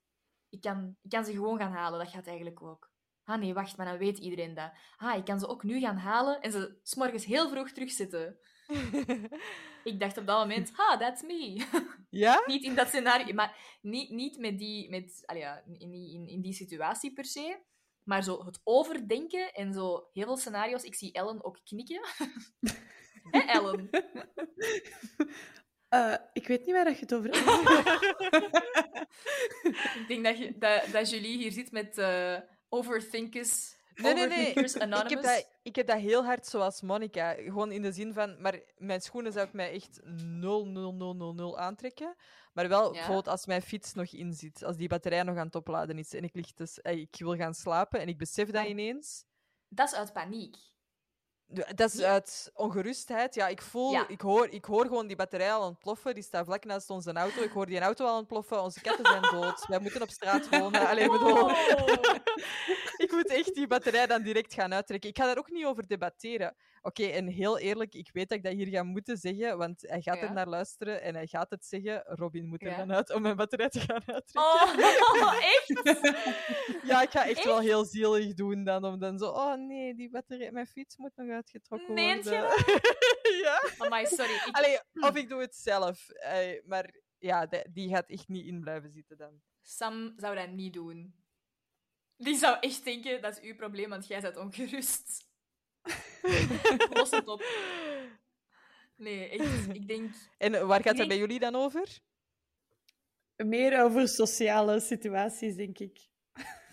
S2: Ik kan, ik kan ze gewoon gaan halen, dat gaat eigenlijk ook. Ah nee, wacht, maar dan weet iedereen dat. Ah, ik kan ze ook nu gaan halen en ze s'morgens heel vroeg terugzetten. Ik dacht op dat moment, ha, that's me.
S1: ja?
S2: niet in dat scenario, maar niet, niet met die, met, allee, ja, in, die- in, in die situatie per se. Maar zo het overdenken en zo heel veel scenario's. Ik zie Ellen ook knikken. Hè, Ellen?
S3: Eh, ik weet niet waar dat je het over hebt.
S2: Ik denk dat, je, dat, dat Julie hier zit met eh, overthinkers.
S1: Nee, nee, nee.
S2: overthinkers
S1: Ik
S2: Anonymous.
S1: heb, dat, ik heb dat heel hard zoals Monica. Gewoon in de zin van, maar mijn schoenen zou ik mij echt 0, 0, 0, 0, 0 aantrekken. Maar wel
S2: Ja.
S1: bijvoorbeeld als mijn fiets nog in zit, als die batterij nog aan het opladen is en ik, lig te, s- eh, ik wil gaan slapen en ik besef dat ineens.
S2: dat is uit paniek.
S1: D- Dat is
S2: Ja.
S1: uit ongerustheid. Ja, ik voel,
S2: Ja.
S1: Ik, hoor, ik hoor gewoon die batterij al ontploffen. Die staat vlak naast onze auto. Ik hoor die auto al ontploffen. Onze katten zijn dood. Wij moeten op straat wonen. Allee, ik bedoel,
S2: Oh.
S1: ik moet echt die batterij dan direct gaan uittrekken. Ik ga daar ook niet over debatteren. Oké, en heel eerlijk, ik weet dat ik dat hier ga moeten zeggen, want hij gaat
S2: Ja.
S1: er naar luisteren en hij gaat het zeggen. Robin moet er
S2: Ja.
S1: dan uit om mijn batterij te gaan uittrekken.
S2: Oh, echt?
S1: Ja, ik ga echt, wel
S2: Echt?
S1: heel zielig doen dan, om dan zo, oh nee, die batterij, mijn fiets moet nog uitgetrokken
S2: Meent je
S1: worden. ja.
S2: Amai, Oh sorry. Ik,
S1: Allee, of ik doe het zelf. eh, maar ja, de- die gaat echt niet in blijven zitten dan.
S2: Sam zou dat niet doen. Die zou echt denken, dat is uw probleem, want jij bent ongerust. Los het op. Nee, echt, ik denk...
S1: En eh, waar gaat
S2: Nee.
S1: dat bij jullie dan over?
S3: Meer over sociale situaties, denk ik.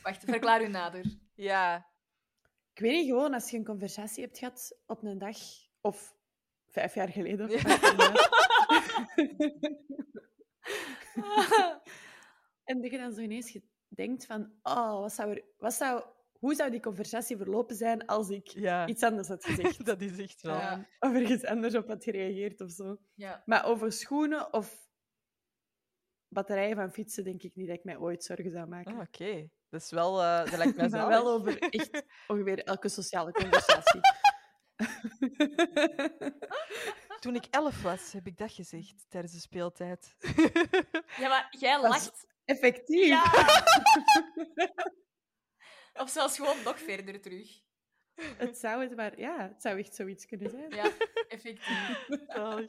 S2: Wacht, verklaar u nader.
S1: Ja.
S3: Ik weet niet, gewoon als je een conversatie hebt gehad op een dag, of vijf jaar geleden,
S1: Ja.
S3: maakt niet uit. en dat je dan zo ineens ge- denkt van, oh, wat zou er, wat zou, hoe zou die conversatie verlopen zijn als ik
S1: Ja,
S3: iets anders had gezegd?
S1: dat is echt wel.
S2: Ja.
S3: Of er iets anders op had gereageerd of zo.
S2: Ja.
S3: Maar over schoenen of batterijen van fietsen denk ik niet dat ik mij ooit zorgen zou maken.
S1: Ah, Oké, dat is wel. eh, dat lijkt mij
S3: maar wel
S1: zalig.
S3: over echt ongeveer elke sociale conversatie.
S1: Toen ik elf was, heb ik dat gezegd tijdens de speeltijd.
S2: ja, maar jij
S3: Dat is-
S2: lacht.
S3: Effectief.
S2: Ja! Of zelfs gewoon nog verder terug.
S3: Het zou het maar, ja, het zou echt zoiets kunnen zijn.
S2: Ja, effectief.
S1: Zalig.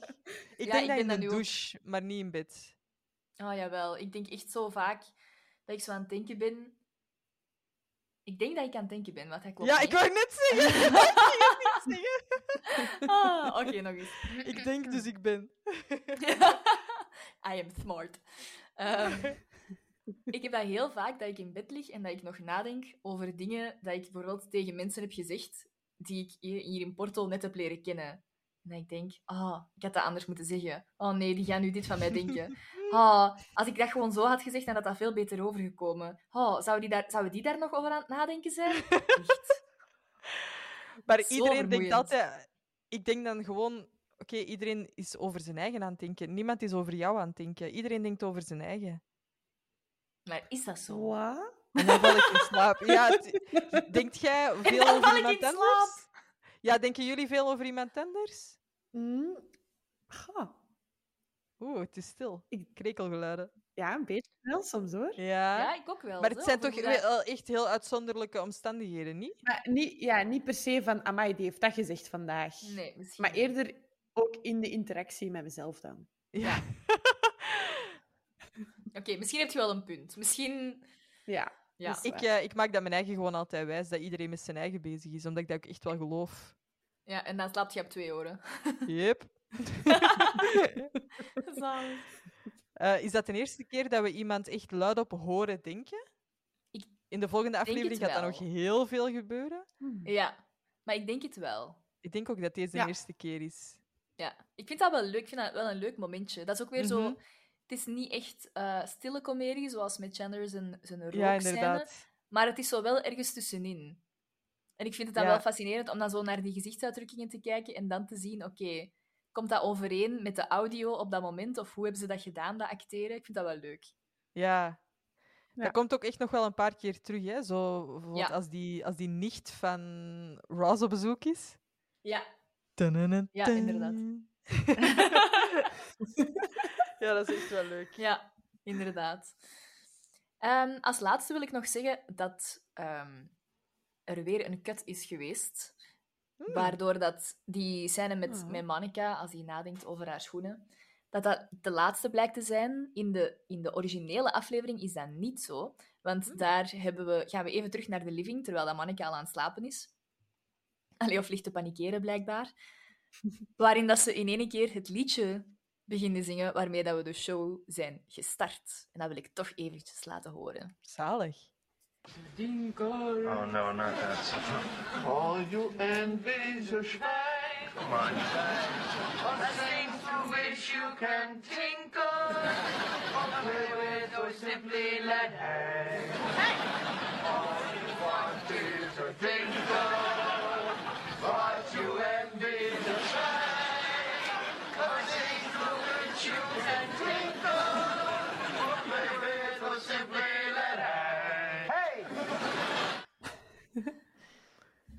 S1: Ik denk
S2: Ja, ik
S1: dat
S2: ben
S1: in
S2: dat
S1: de
S2: nu ook.
S1: douche, maar niet in bed.
S2: Oh jawel, ik denk echt zo vaak dat ik zo aan het denken ben. Ik denk dat ik aan het denken ben, want hij klopt
S1: ja,
S2: niet.
S1: ik wou net zeggen.
S2: Ah, Oké, nog eens.
S1: ik denk dus ik ben.
S2: I am smart. Ehm, Ik heb dat heel vaak, dat ik in bed lig en dat ik nog nadenk over dingen dat ik bijvoorbeeld tegen mensen heb gezegd die ik hier, hier in Porto net heb leren kennen. En dat ik denk, ah, ik had dat anders moeten zeggen. Oh nee, die gaan nu dit van mij denken. Ah, als ik dat gewoon zo had gezegd, dan had dat veel beter overgekomen. Oh, zou die daar, zouden die daar nog over aan het nadenken zijn? Echt.
S1: Maar
S2: Zo
S1: iedereen denkt
S2: vermoeiend.
S1: altijd... Ik denk dan gewoon... Oké, iedereen is over zijn eigen aan het denken. Niemand is over jou aan het denken. Iedereen denkt over zijn eigen.
S2: Maar is dat zo?
S3: Wat?
S1: En dan val ik in slaap. Ja, het- denkt jij veel
S2: dan
S1: over
S2: val ik
S1: iemand
S2: in
S1: anders? Ja, denken jullie veel over iemand anders?
S3: Mm. Goh,
S1: Oeh, het is stil.
S3: Ik-
S1: Krekelgeluiden.
S3: Ja, een beetje wel soms hoor.
S1: Ja.
S2: Ja, ik ook wel.
S1: maar het
S2: zo,
S1: zijn
S2: of ik
S1: toch
S2: moet dat-
S1: wel echt heel uitzonderlijke omstandigheden, niet?
S3: Maar niet, ja, niet per se van, amai, die heeft dat gezegd vandaag.
S2: Nee, misschien
S3: Maar
S2: niet.
S3: eerder ook in de interactie met mezelf dan.
S1: Ja.
S2: Oké, misschien heb je wel een punt. Misschien...
S3: Ja.
S2: Ja.
S3: Dus-
S1: ik, eh, ik maak dat mijn eigen gewoon altijd wijs, dat iedereen met zijn eigen bezig is, omdat ik dat ook echt wel geloof.
S2: ja, en dan slaapt je op twee oren.
S1: Yep.
S2: Zalig.
S1: Eh, is dat de eerste keer dat we iemand echt luid op horen denken?
S2: Ik
S1: In de volgende
S2: het
S1: aflevering gaat dat nog
S2: wel.
S1: heel veel gebeuren.
S2: Ja, maar ik denk het wel.
S1: Ik denk ook dat deze
S3: Ja.
S1: de eerste keer is.
S2: Ja, ik vind dat wel leuk. Ik vind dat wel een leuk momentje. Dat is ook weer
S1: Mhm.
S2: zo... Het is niet echt eh, stille comedie, zoals met Chandler zijn, zijn
S1: Ja,
S2: rookscène.
S1: inderdaad.
S2: Maar het is zo wel ergens tussenin. En ik vind het dan
S1: Ja.
S2: wel fascinerend om dan zo naar die gezichtsuitdrukkingen te kijken en dan te zien, oké, komt dat overeen met de audio op dat moment? Of hoe hebben ze dat gedaan, dat acteren? Ik vind dat wel leuk.
S1: Ja.
S3: Ja.
S1: Dat komt ook echt nog wel een paar keer terug. Hè? Zo, bijvoorbeeld
S2: Ja.
S1: als, die, als die nicht van Ross op bezoek is.
S2: Ja.
S1: Ja,
S2: Ja, inderdaad.
S1: ja, dat is echt wel leuk.
S2: Ja, inderdaad. Ehm, als laatste wil ik nog zeggen dat ehm, er weer een cut is geweest. Waardoor dat die scène met,
S3: Ah.
S2: met Monica, als die nadenkt over haar schoenen, dat dat de laatste blijkt te zijn. In de, in de originele aflevering is dat niet zo. Want daar hebben we, gaan we even terug naar de living, terwijl dat Monica al aan het slapen is. Allee, of ligt te panikeren, blijkbaar. Waarin dat ze in één keer het liedje beginnen zingen waarmee dat we de show zijn gestart. En dat wil ik toch eventjes laten horen.
S1: Zalig.
S4: Oh no, not that.
S6: All you envy's a Schwein.
S4: Come on.
S6: A thing through which you can tinker. Play with or simply let hang. All you want is a thinker. What you envy's a Schwein. A thing through which you can tinker. Play with or simply let hang. Hey!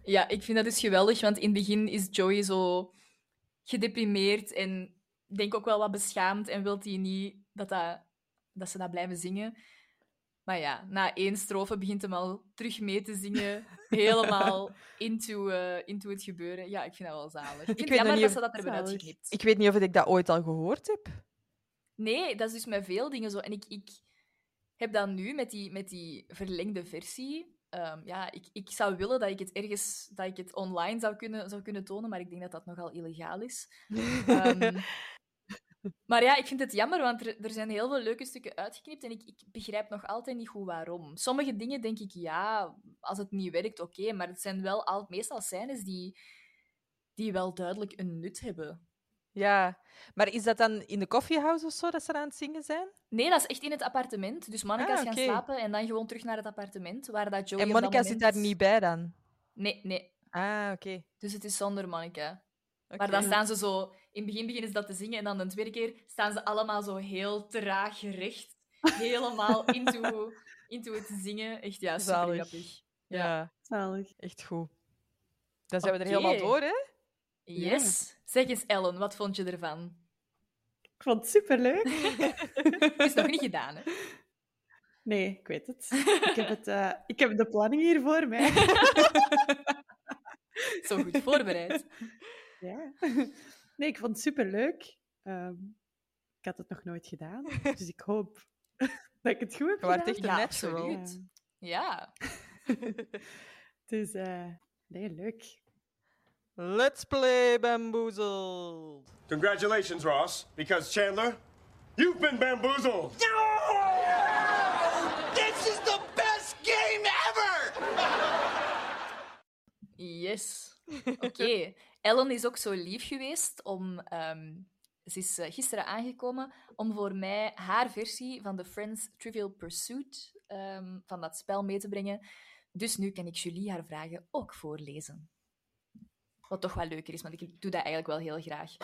S2: Ja, ik vind dat dus geweldig, want in het begin is Joey zo gedeprimeerd en denk ook wel wat beschaamd en wil hij niet dat, dat, dat ze dat blijven zingen. Maar ja, na één strofe begint hem al terug mee te zingen, helemaal into, eh, into het gebeuren. Ja, ik vind dat wel zalig. Ik
S1: weet
S2: vind het
S1: nog
S2: jammer
S1: niet
S2: dat
S1: of-
S2: ze dat hebben
S3: Zalig.
S2: uitgeknipt.
S1: Ik weet niet of ik dat ooit al gehoord heb.
S2: Nee, dat is dus met veel dingen zo. En ik, ik heb dan nu met die, met die verlengde versie. ehm, ja, ik, ik zou willen dat ik het ergens dat ik het online zou kunnen, zou kunnen tonen, maar ik denk dat dat nogal illegaal is. Ehm, maar ja, ik vind het jammer, want er, er zijn heel veel leuke stukken uitgeknipt en ik, ik begrijp nog altijd niet goed waarom. Sommige dingen denk ik, ja, als het niet werkt, oké, maar het zijn wel al, meestal scènes die, die wel duidelijk een nut hebben.
S1: Ja, maar is dat dan in de koffiehuis of zo dat ze aan het zingen zijn?
S2: Nee, dat is echt in het appartement. Dus Monica is
S1: Ah, oké.
S2: gaan slapen en dan gewoon terug naar het appartement waar dat Joey
S1: en
S2: op dat
S1: Monica zit daar
S2: moment-
S1: niet bij dan?
S2: Nee, nee.
S1: Ah, oké.
S2: Dus het is zonder Monica.
S1: Oké.
S2: Maar dan staan ze zo... In het begin beginnen ze dat te zingen en dan de tweede keer staan ze allemaal zo heel traag recht. Helemaal into, into het zingen. Echt, ja, super
S1: Zalig.
S2: grappig.
S1: Ja,
S3: Zalig.
S1: echt goed. Dan zijn we er
S2: Oké.
S1: helemaal door, hè?
S2: Yes. Zeg eens, Ellen, wat vond je ervan?
S3: Ik vond het superleuk.
S2: Het is nog niet gedaan, hè?
S3: Nee, ik weet het. Ik heb, het, eh, ik heb de planning hier voor mij.
S2: Zo goed voorbereid.
S3: Ja. Nee, ik vond het superleuk. Ehm, ik had het nog nooit gedaan, dus ik hoop dat ik het goed heb
S1: Je waart
S3: gedaan.
S1: echt een
S2: Ja,
S1: natural.
S2: absoluut.
S3: Ja.
S2: Ja.
S3: Dus, eh, nee, leuk.
S1: Let's play bamboozled.
S4: Congratulations, Ross, because Chandler, you've been bamboozled.
S2: Yes. Oké. Ellen is ook zo lief geweest om... ehm, ze is eh, gisteren aangekomen om voor mij haar versie van de Friends Trivial Pursuit ehm, van dat spel mee te brengen. Dus nu kan ik Julie haar vragen ook voorlezen. Wat toch wel leuker is, want ik doe dat eigenlijk wel heel graag.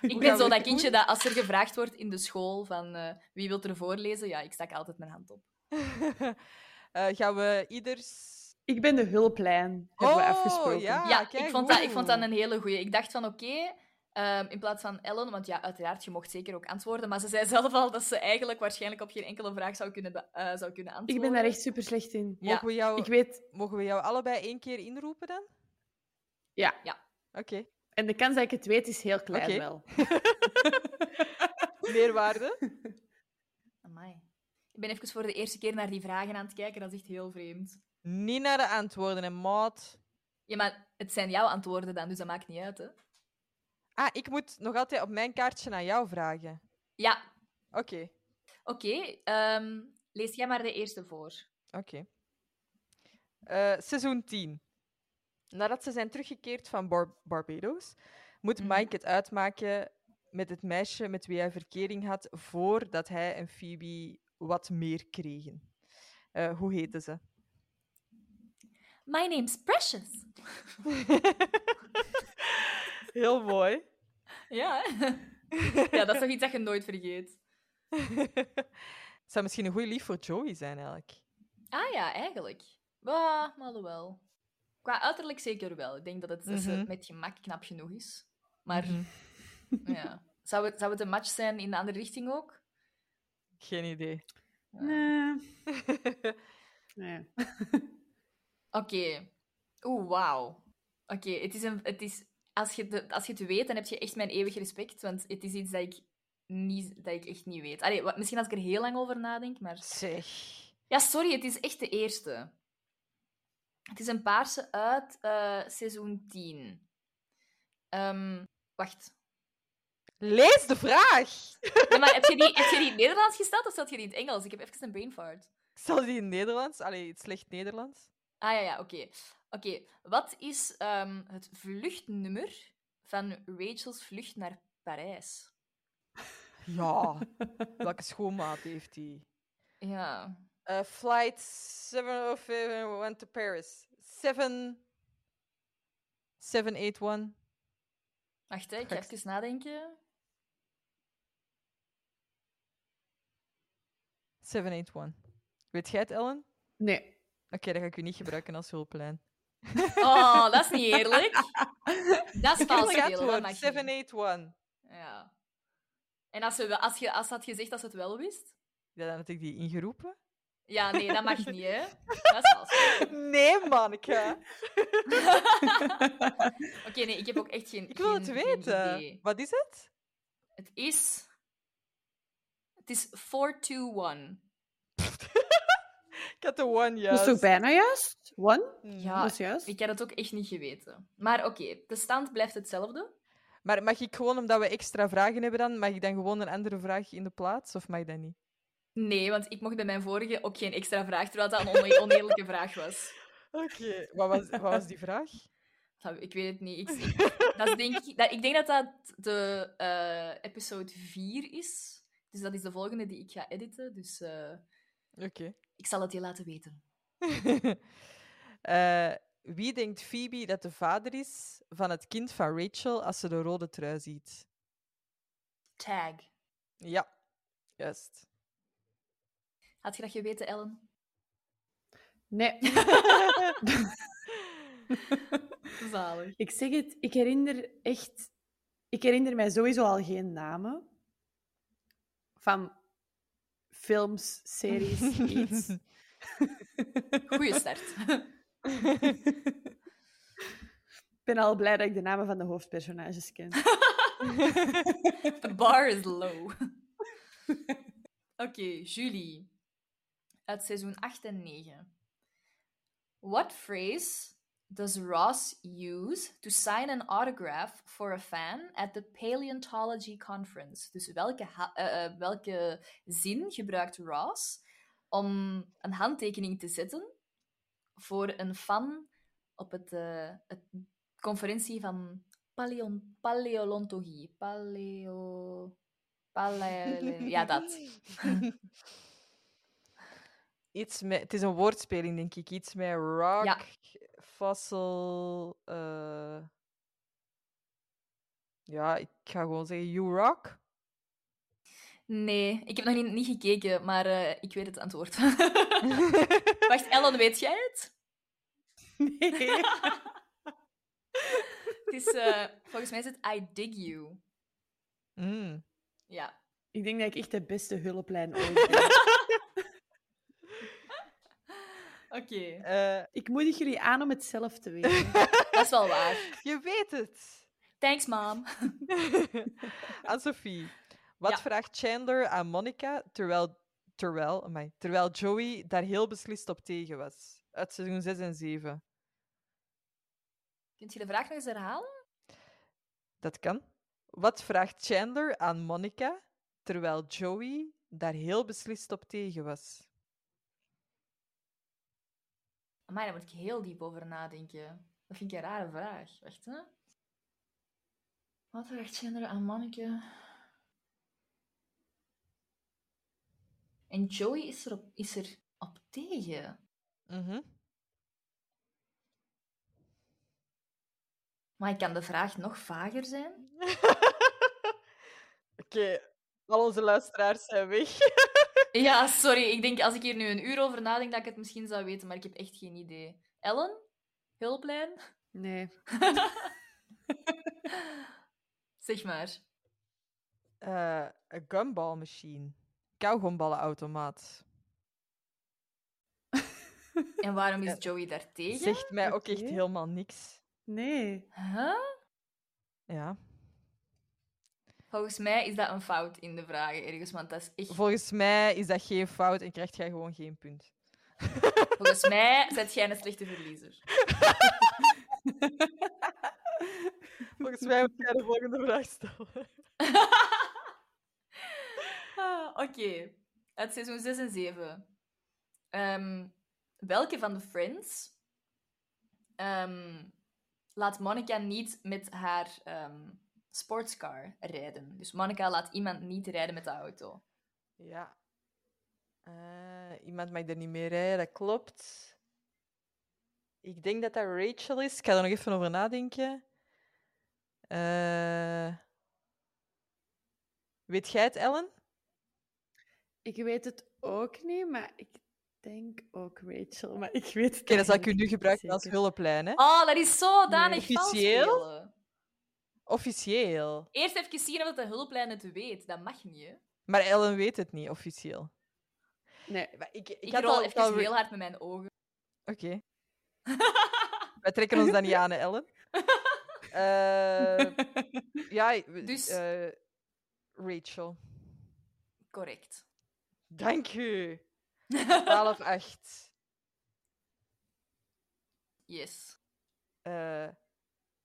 S2: ik ben
S1: gaan
S2: zo
S1: we
S2: dat
S1: het
S2: kindje
S1: doen?
S2: dat als er gevraagd wordt in de school van eh, wie wil er voorlezen, ja, ik stak altijd mijn hand op.
S1: Eh, gaan we ieders...
S3: Ik ben de hulplijn, hebben we
S1: Oh,
S3: afgesproken.
S1: ja.
S2: ja, ik
S1: kijk,
S2: vond, dat, ik vond dat
S1: oeh.
S2: een hele goeie. Ik dacht van, oké, ehm, in plaats van Ellen, want ja, uiteraard, je mocht zeker ook antwoorden, maar ze zei zelf al dat ze eigenlijk waarschijnlijk op geen enkele vraag zou kunnen, be- eh, zou kunnen
S3: Ik
S2: antwoorden.
S3: ben daar echt super slecht in.
S2: Ja.
S1: Mogen, we jou,
S3: Ik weet,
S1: mogen we jou allebei één keer inroepen dan?
S3: ja.
S1: Oké.
S3: En de kans dat ik het weet is heel klein
S1: Oké.
S3: wel.
S1: Meerwaarde?
S2: Amai. Ik ben even voor de eerste keer naar die vragen aan het kijken, dat is echt heel vreemd.
S1: Niet naar de antwoorden, hè, maat.
S2: Ja, maar het zijn jouw antwoorden dan, dus dat maakt niet uit, hè?
S1: Ah, ik moet nog altijd op mijn kaartje aan jou vragen.
S2: Ja,
S1: Oké,
S2: oké. ehm, lees jij maar de eerste voor.
S1: oké. Eh, seizoen 10. Nadat ze zijn teruggekeerd van Bar- Barbados, moet
S2: Mhm.
S1: Mike het uitmaken met het meisje met wie hij verkering had voordat hij en Phoebe wat meer kregen. Eh, hoe heette ze?
S2: My name's Precious.
S1: Heel mooi.
S2: Ja, hè? ja, dat is toch iets dat je nooit vergeet.
S1: Het zou misschien een goede lief voor Joey zijn, eigenlijk.
S2: Ah ja, eigenlijk. Bah, maar wel. Qua uiterlijk zeker wel. Ik denk dat het dat ze
S1: Mhm.
S2: met gemak knap genoeg is. Maar ja. Zou het, zou het een match zijn in de andere richting ook?
S1: Geen idee.
S3: Nee. nee.
S2: Oké. Oeh, wauw. Oké, het is een... Het is, als, je de, als je het weet, dan heb je echt mijn eeuwig respect. Want het is iets dat ik, niet, dat ik echt niet weet. Allee, wa- misschien als ik er heel lang over nadenk, maar...
S1: Zeg.
S2: Ja, sorry, het is echt de eerste. Het is een paarse uit eh, seizoen 10. Ehm, wacht.
S1: Lees de vraag!
S2: Ja, maar heb je, die, heb je die in het Nederlands gesteld of zat je die in het Engels? Ik heb even een brain fart.
S1: Ik zal die in Nederlands. Allee, het slecht Nederlands.
S2: Ah ja, ja, oké. Oké, wat is ehm, het vluchtnummer van Rachel's vlucht naar Parijs?
S1: Ja. Welke schoonmaat heeft hij?
S2: Ja.
S1: Eh, flight 705 to Paris. 7... 781.
S2: Wacht, hè, ik ga
S1: Gek.
S2: even nadenken.
S1: 781. Weet jij het, Ellen?
S3: Nee.
S1: Oké, dan ga ik u niet gebruiken als hulplijn.
S2: Oh, dat is niet eerlijk. Dat is vals
S1: Eerlijk
S2: spelen, dat
S1: antwoord,
S2: mag niet.
S1: 781.
S2: Ja. En als, ze wel, als, je, als ze had gezegd dat ze het wel wist?
S1: Ja, dan had ik die ingeroepen.
S2: Ja, nee, dat mag niet, hè? Dat is vals.
S1: Nee, manneke.
S2: Oké, nee, ik heb ook echt geen.
S1: Ik wil het
S2: geen- geen
S1: weten.
S2: idee.
S1: Wat is het?
S2: Het is. Het is 421.
S1: Ik had de one
S3: Dat is
S1: juist.
S3: toch bijna juist? One?
S2: Ja,
S3: dat is juist.
S2: ik had het ook echt niet geweten. Maar oké, de stand blijft hetzelfde.
S1: Maar mag ik gewoon, omdat we extra vragen hebben dan, mag ik dan gewoon een andere vraag in de plaats? Of mag dat niet?
S2: Nee, want ik mocht bij mijn vorige ook geen extra vraag, terwijl dat een one- oneerlijke vraag was.
S1: Oké. Wat, was, wat was die vraag?
S2: Nou, ik weet het niet. Ik, ik- dat is denk, ik- dat, ik denk dat dat de eh, episode 4 is. Dus dat is de volgende die ik ga editen. Dus eh,
S1: Oké.
S2: ik zal het je laten weten.
S1: Eh, wie denkt Phoebe dat de vader is van het kind van Rachel als ze de rode trui ziet?
S2: Tag.
S1: Ja, juist.
S2: Had je dat geweten, Ellen?
S3: Nee.
S2: Zalig.
S3: ik zeg het, ik herinner echt... Ik herinner mij sowieso al geen namen van films, series, iets.
S2: Goeie start.
S3: Ik ben al blij dat ik de namen van de hoofdpersonages ken.
S2: The bar is low. Oké, Julie. Uit seizoen 8 en 9. What phrase does Ross use to sign an autograph for a fan at the Paleontology Conference? Dus welke, ha- eh, eh, welke zin gebruikt Ross om een handtekening te zetten voor een fan op het, eh, het conferentie van paleon, paleolontologie. Paleo... Pale... Eh, Ja, dat.
S1: Iets met, het is een woordspeling, denk ik. Iets met rock,
S2: Ja.
S1: fossil. eh, Ja, ik ga gewoon zeggen you rock.
S2: Nee, ik heb nog niet, niet gekeken, maar eh, ik weet het antwoord. Wacht, Ellen, weet jij het?
S3: Nee.
S2: Het is, eh, volgens mij is het I dig you.
S1: Mm.
S2: Ja.
S3: Ik denk dat ik echt de beste hulplijn ooit ben.
S2: Oké,
S1: Eh,
S3: ik moedig jullie aan om het zelf te weten.
S2: dat is wel waar.
S1: je weet het.
S2: Thanks, mom.
S1: aan Sophie. Wat
S2: Ja.
S1: vraagt Chandler aan Monica terwijl, terwijl, amai, terwijl Joey daar heel beslist op tegen was? Uit seizoen 6 en 7.
S2: Kunt je de vraag nog eens herhalen?
S1: Dat kan. Wat vraagt Chandler aan Monica terwijl Joey daar heel beslist op tegen was?
S2: Maar daar moet ik heel diep over nadenken. Dat vind ik een rare vraag. Wacht, hè? Wat vraagt Chandler aan Manneke? En Joey is er op, is er op tegen.
S1: Mhm.
S2: Maar kan de vraag nog vager zijn?
S1: Oké, al onze luisteraars zijn weg.
S2: Ja, sorry. Ik denk als ik hier nu een uur over nadenk dat ik het misschien zou weten, maar ik heb echt geen idee. Ellen? Hulplijn?
S3: Nee.
S2: Zeg maar.
S1: Eh, Een gumball machine. Kauwgomballenautomaat.
S2: En waarom is Joey daartegen?
S1: Zegt mij ook echt
S3: Oké.
S1: helemaal niks.
S3: Nee.
S2: Huh?
S1: Ja.
S2: Volgens mij is dat een fout in de vragen ergens, want dat is echt...
S1: Volgens mij is dat geen fout en krijgt jij gewoon geen punt.
S2: Volgens mij zet jij een slechte verliezer.
S1: Volgens mij moet jij de volgende vraag stellen.
S2: Ah, Oké, uit seizoen 6 en 7. Ehm, welke van de Friends ehm, laat Monica niet met haar ehm, sportscar rijden? Dus Monica laat iemand niet rijden met de auto.
S1: Ja. Eh, iemand mag er niet mee rijden, dat klopt. Ik denk dat dat Rachel is. Ik ga er nog even over nadenken. Eh, Weet jij het, Ellen?
S3: Ik weet het ook niet, maar ik denk ook Rachel. Maar ik weet het
S1: Oké, dan zal ik u
S3: eigenlijk
S1: nu
S3: niet
S1: gebruiken als
S3: zeker.
S1: hulplijn. Hè?
S2: Oh, dat is zodanig
S1: Nee.
S2: vals
S1: Officieel?
S2: spelen.
S1: Officieel.
S2: Eerst even zien of de hulplijn het weet. Dat mag niet, hè?
S1: Maar Ellen weet het niet officieel.
S3: Nee.
S1: Maar Ik, ik,
S2: Ik,
S1: had
S2: rol
S1: al-
S2: even
S1: al re-
S2: heel hard met mijn ogen.
S1: Oké. Wij trekken ons dan niet aan, hè, Ellen. Eh, ja, we-
S2: Dus-
S1: eh, Rachel.
S2: Correct.
S1: Dank u. 12-8.
S2: Yes.
S1: Eh,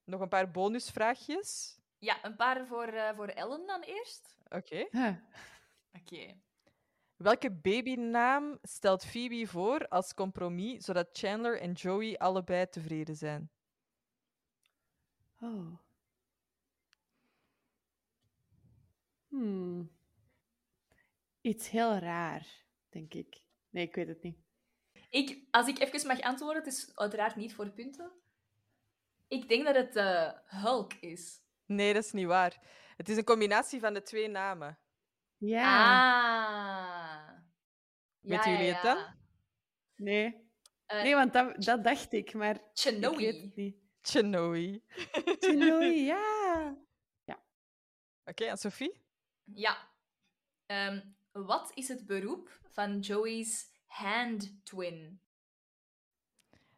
S1: nog een paar bonusvraagjes.
S2: Ja, een paar voor, eh, voor Ellen dan eerst.
S1: Oké.
S3: Huh.
S2: Oké.
S1: Welke babynaam stelt Phoebe voor als compromis, zodat Chandler en Joey allebei tevreden zijn?
S3: Oh. Hmm. Iets heel raar, denk ik. Nee, ik weet het niet.
S2: Ik, als ik even mag antwoorden, het is uiteraard niet voor punten. Ik denk dat het eh, Hulk is.
S1: Nee, dat is niet waar. Het is een combinatie van de twee namen.
S3: Ja.
S2: Ah.
S1: Weten jullie het dan?
S3: Nee.
S2: Eh,
S3: Nee, want dat, dat dacht ik, maar ik weet
S2: Chenoe.
S3: het niet.
S1: Chenoe.
S3: Chinoy, ja.
S1: Oké, en Sophie?
S2: Ja. Ehm, wat is het beroep van Joey's hand twin?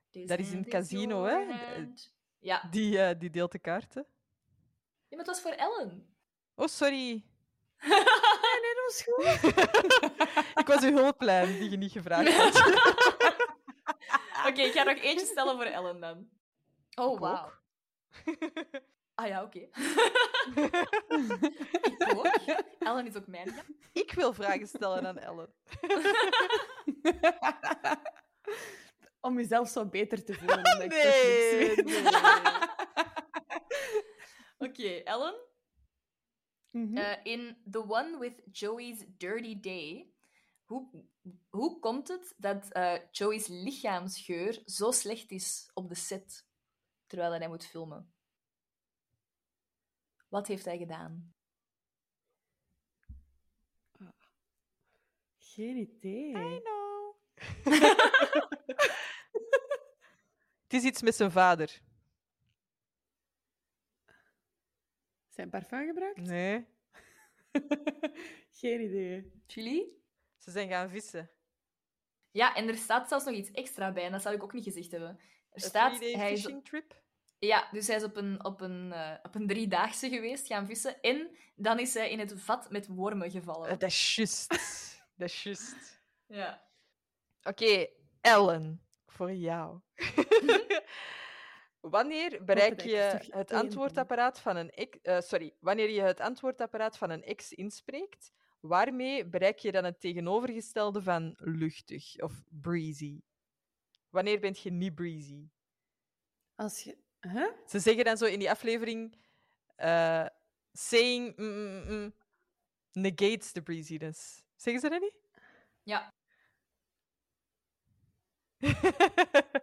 S2: This
S1: Dat is in
S2: hand
S1: het casino,
S2: your
S1: hè?
S2: hand. Ja.
S1: Die, eh, die deelt de kaarten.
S2: ja, maar het was voor Ellen.
S1: Oh, sorry.
S3: Nee, dat was goed.
S1: Ik was uw hulplijn die je niet gevraagd had.
S2: Oké, ik ga nog eentje stellen voor Ellen dan. Oh,
S1: Ik
S2: wauw.
S1: ook.
S2: Ah ja, oké. ik ook. Ellen is ook mijn. ja.
S1: Ik wil vragen stellen aan Ellen.
S3: om mezelf zo beter te voelen. Omdat ik toch niks weet.
S2: Oké, Ellen.
S3: Mhm.
S2: Eh, in The One with Joey's Dirty Day, hoe, hoe komt het dat eh, Joey's lichaamsgeur zo slecht is op de set terwijl dat hij moet filmen? Wat heeft hij gedaan?
S3: Geen idee.
S1: know. het is iets met zijn vader.
S3: Zijn parfum gebruikt?
S2: Mm.
S1: Nee.
S3: Geen idee.
S2: Julie?
S1: Ze zijn gaan vissen.
S2: Ja, en er staat zelfs nog iets extra bij, en dat zou ik ook niet gezegd hebben. Er
S1: Een
S2: staat,
S1: three-day
S2: hij is,
S1: fishing trip.
S2: ja, dus hij is op een, op, een, eh, op een driedaagse geweest gaan vissen, en dan is hij in het vat met wormen
S1: Eh,
S2: gevallen.
S1: Dat is juist. Dat is juist.
S2: Ja.
S1: Oké, Ellen, voor jou. wanneer bereik
S3: dat ik
S1: je
S3: er toch
S1: het
S3: één
S1: antwoordapparaat van een ex, eh, sorry, wanneer je het antwoordapparaat van een ex inspreekt, waarmee bereik je dan het tegenovergestelde van luchtig of breezy? Wanneer bent je niet breezy?
S3: Als je... Huh?
S1: Ze zeggen dan zo in die aflevering eh, saying mm, mm, mm, negates the breeziness. Zeggen ze dat niet?
S2: Ja.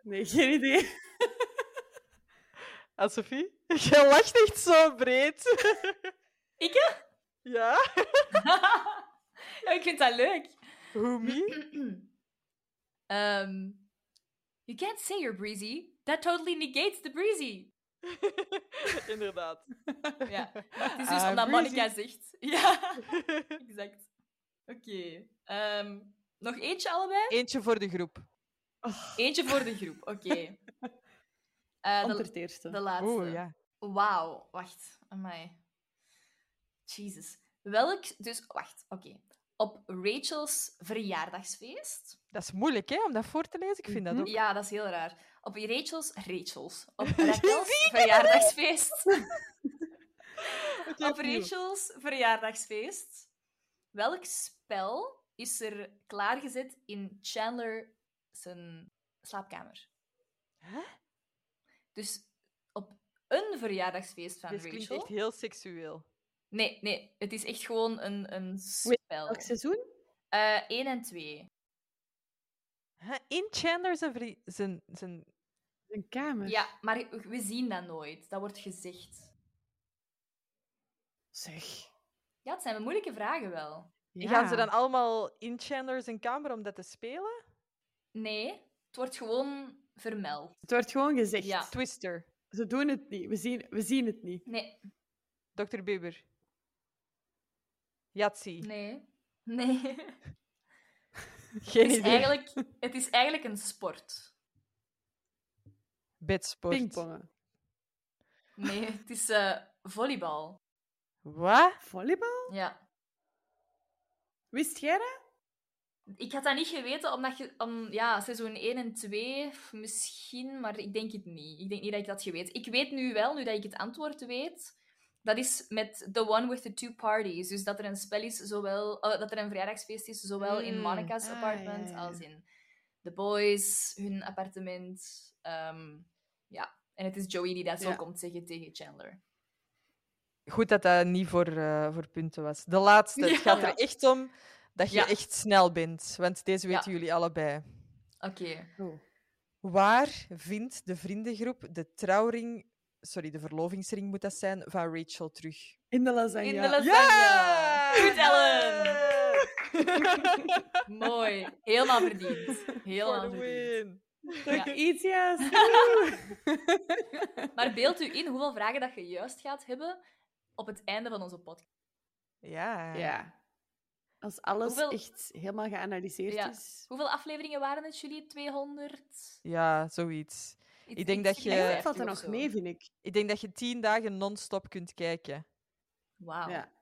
S3: Nee, geen idee.
S1: Ah, Sophie? Jij lacht echt zo breed.
S2: Ik, hè?
S1: Ja?
S2: ja, ik vind dat leuk.
S1: Who me?
S2: Um, you can't say you're breezy. That totally negates the breezy.
S1: Inderdaad.
S2: Ja, het is dus
S1: Ah,
S2: omdat
S1: breezy.
S2: Monica zegt. Ja, exact. Oké. ehm, nog eentje allebei?
S1: Eentje voor de groep.
S2: Eentje voor de groep, oké. Eh,
S3: Antwoord
S2: de,
S3: het eerste.
S2: de laatste.
S1: Oeh, Oh, ja.
S2: Wauw, wacht. Amai. Jesus. Welk, dus wacht, oké. Op Rachel's verjaardagsfeest.
S1: Dat is moeilijk, hè, om dat voor te lezen. Ik vind dat ook.
S2: Ja, dat is heel raar. Op Rachel's, Rachel's, op Rachel's verjaardagsfeest. op
S1: opnieuw.
S2: Rachel's verjaardagsfeest. Welk spel is er klaargezet in Chandler zijn slaapkamer?
S1: Hè?
S2: Dus op een verjaardagsfeest van
S1: Dit klinkt
S2: Rachel.
S1: echt heel seksueel.
S2: Nee, nee, het is echt gewoon een, een spel.
S3: Elk seizoen?
S2: 1 en 2.
S1: Hè? In Chandler zijn, vri- zijn, zijn...
S3: Een kamer?
S2: Ja, maar we zien dat nooit. Dat wordt gezegd.
S3: Zeg.
S2: Ja, het zijn moeilijke vragen wel.
S1: Gaan
S3: Ja.
S1: ze dan allemaal in Chandler zijn kamer om dat te spelen?
S2: Nee, het wordt gewoon vermeld.
S3: Het wordt gewoon gezegd.
S2: Ja.
S1: Twister.
S3: Ze doen het niet. We zien, we zien het niet.
S2: Nee,
S1: Dr. Bieber. Yahtzee.
S2: nee, nee.
S1: Geen
S2: Het is,
S1: idee.
S2: eigenlijk, het is eigenlijk een sport.
S1: Bedsport.
S3: Pingpongen.
S2: Nee, het is eh, volleybal.
S1: Wat?
S3: Volleybal?
S2: Ja.
S3: Wist jij dat?
S2: Ik had dat niet geweten, omdat je, om, ja, seizoen 1 en 2 f- misschien, maar ik denk het niet. Ik denk niet dat ik dat geweten Ik weet nu wel, nu dat ik het antwoord weet, dat is met The One with the Two Parties. Dus dat er een spel is, zowel, eh, dat er een verjaardagsfeest is, zowel in
S1: Mm,
S2: Monica's
S3: ah,
S2: apartment
S3: ja, ja.
S2: als in The Boys, hun appartement. ehm, ja, en het is Joey die dat zo
S3: Ja.
S2: komt zeggen tegen Chandler.
S1: Goed dat dat niet voor, eh, voor punten was. De laatste. Het
S2: Ja.
S1: gaat er echt om dat je
S2: Ja.
S1: echt snel bent. Want deze
S2: Ja.
S1: weten jullie allebei.
S2: Oké. Oh.
S1: Waar vindt de vriendengroep de trouwring... Sorry, de verlovingsring moet dat zijn, van Rachel terug?
S3: In de lasagne.
S2: In de lasagne. Goed, Ellen. Mooi. Helemaal verdiend.
S1: For
S2: Helemaal
S1: the
S2: verdiend.
S1: win.
S3: Toch
S2: Ja.
S3: iets, yes.
S2: Maar beeld u in hoeveel vragen dat je juist gaat hebben op het einde van onze podcast.
S1: Ja.
S3: ja. Als alles
S2: Hoeveel-
S3: echt helemaal geanalyseerd
S2: Ja.
S3: is.
S2: Hoeveel afleveringen waren het jullie? 200? Iets-
S1: Ja, zoiets. Ik denk dat je-
S3: Eigenlijk
S2: 250
S3: valt er
S2: of
S3: nog
S2: zo.
S3: mee, vind ik.
S1: Ik denk dat je tien dagen non-stop kunt kijken.
S2: Wauw.
S3: Ja.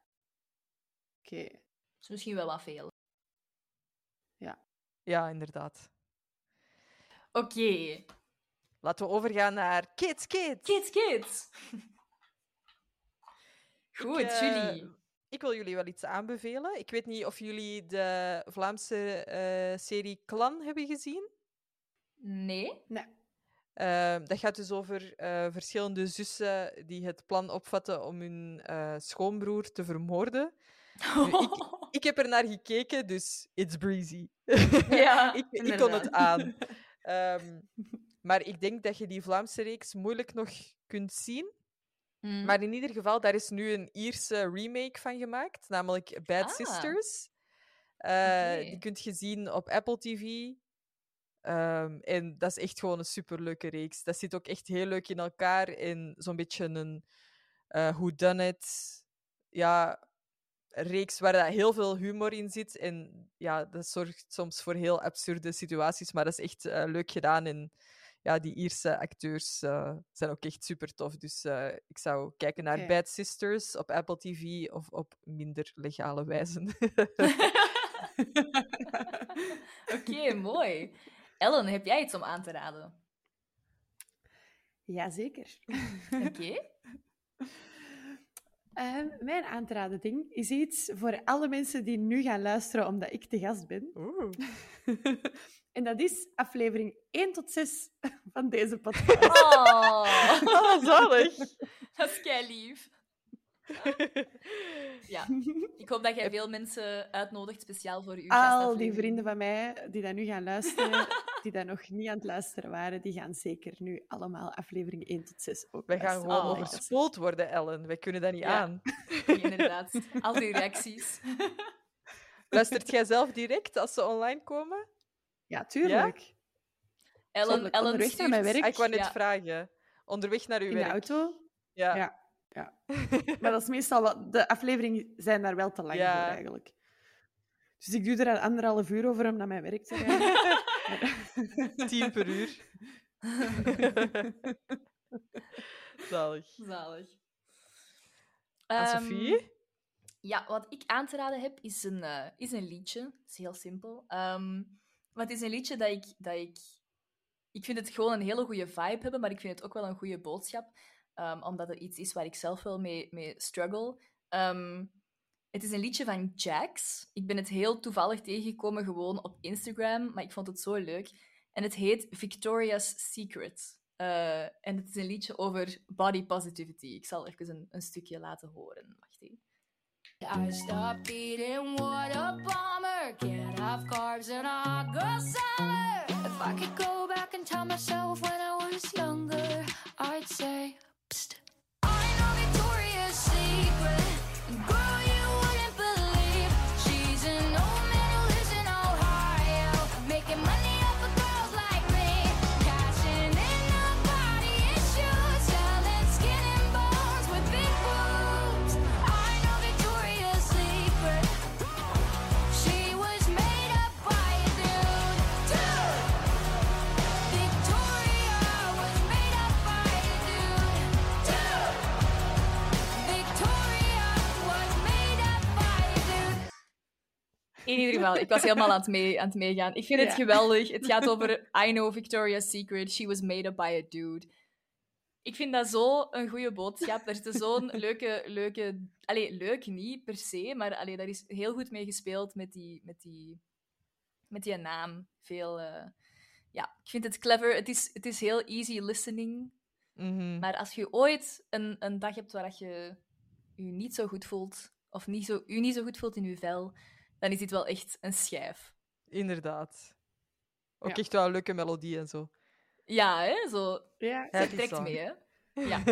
S3: Oké.
S2: Dat is misschien wel wat veel.
S1: Ja, inderdaad.
S2: Oké.
S1: Laten we overgaan naar Kids, Kids.
S2: Kids, kids. Goed,
S1: Ik, eh,
S2: jullie.
S1: Ik wil jullie wel iets aanbevelen. Ik weet niet of jullie de Vlaamse eh, serie Clan hebben gezien.
S2: Nee.
S1: Ehm, dat gaat dus over eh, verschillende zussen die het plan opvatten om hun eh, schoonbroer te vermoorden. Nu, ik, ik heb er naar gekeken, dus it's breezy.
S2: Ja,
S1: ik, ik kon
S2: inderdaad.
S1: het aan. Ehm, maar ik denk dat je die Vlaamse reeks moeilijk nog kunt zien.
S2: Mm.
S1: Maar in ieder geval, daar is nu een Ierse remake van gemaakt, namelijk Bad
S2: Ah.
S1: Sisters. Eh, Die
S2: Oké.
S1: kunt je zien op Apple TV. Ehm, en dat is echt gewoon een superleuke reeks. Dat zit ook echt heel leuk in elkaar. En zo'n beetje een eh Who Done It. Ja, reeks waar dat heel veel humor in zit. En ja, dat zorgt soms voor heel absurde situaties. Maar dat is echt eh, leuk gedaan. En ja, die Ierse acteurs eh, zijn ook echt super tof. Dus eh, ik zou kijken naar
S3: Oké.
S1: Bad Sisters op Apple TV of op minder legale wijzen.
S2: Oké, mooi. Ellen, heb jij iets om aan te raden?
S3: Jazeker.
S2: Oké.
S3: Ehm, mijn aanteraden ding is iets voor alle mensen die nu gaan luisteren omdat ik te gast ben.
S1: Oeh.
S3: en dat is aflevering 1 tot 6 van deze podcast.
S2: Oh,
S1: Oh, zalig.
S2: dat is kei lief. Ja, ik hoop dat jij veel mensen uitnodigt speciaal voor u.
S3: Al die vrienden van mij die dat nu gaan luisteren, die dat nog niet aan het luisteren waren, die gaan zeker nu allemaal aflevering 1 tot 6 ook
S1: Wij gaan
S3: luisteren,
S1: gewoon
S2: Oh.
S3: omdat ik dat zeg.
S1: overspoeld worden, Ellen. Wij kunnen dat niet
S2: Ja.
S1: aan.
S2: Inderdaad, al die reacties.
S1: Luistert jij zelf direct als ze online komen?
S3: Ja, tuurlijk.
S2: Ellen,
S3: Zonder-
S2: Ellen
S3: onderweg naar mijn
S2: stuurt-
S3: werk.
S1: Ah, ik wou net
S2: Ja.
S1: vragen. Onderweg naar uw
S3: In de
S1: werk.
S3: auto.
S1: Ja.
S3: Ja. Maar dat is meestal wat... De afleveringen zijn daar wel te lang
S1: Ja.
S3: voor, eigenlijk. Dus ik doe er een anderhalf uur over om naar mijn werk te gaan.
S1: Tien per uur. Zalig.
S2: Zalig.
S1: Aan
S2: Ehm,
S1: Sophie?
S2: Ja, wat ik aan te raden heb, is een, eh, is een liedje. Het is heel simpel. Ehm maar het is een liedje dat ik, dat ik... Ik vind het gewoon een hele goede vibe hebben, maar ik vind het ook wel een goede boodschap. ehm, omdat het iets is waar ik zelf wel mee, mee struggle. Ehm, het is een liedje van Jax. Ik ben het heel toevallig tegengekomen gewoon op Instagram, maar ik vond het zo leuk. En het heet Victoria's Secret. Eh, en het is een liedje over body positivity. Ik zal even een, een stukje laten horen. Wacht even. I stopped eating what a bomber. Get off carbs and I go sour.
S10: If I could go back and tell myself when I was younger, I'd say, Psst. I know Victoria's Secret. and Girl, you wouldn't believe. She's an old medalist in Ohio. Making money off of girls like me. Cashing in on body issues. Selling skin and bones with big boobs. I know Victoria's Secret. She was made up by a dude. Dude! Victoria was made up by a dude. Dude! Victoria was made up by a dude.
S2: In ieder geval, ik was helemaal aan het, mee, aan het meegaan. Ik vind het
S3: Ja.
S2: geweldig. Het gaat over I know Victoria's Secret. She was made up by a dude. Ik vind dat zo een goede boodschap. Er zitten zo'n leuke, leuke... Allee, leuk niet per se, maar allee, daar is heel goed mee gespeeld met die, met die, met die naam. Veel... eh, ja, ik vind het clever. Het is, het is heel easy listening.
S1: Mhm.
S2: Maar als je ooit een, een dag hebt waar dat je je niet zo goed voelt, of niet zo, je niet zo goed voelt in je vel, dan is dit wel echt een schijf.
S1: Inderdaad. Ook
S3: Ja.
S1: echt wel een leuke melodie en zo.
S2: Ja, hè? Zo,
S3: Ja.
S2: het
S1: Happy
S2: trekt
S1: song.
S2: mee, hè? Ja,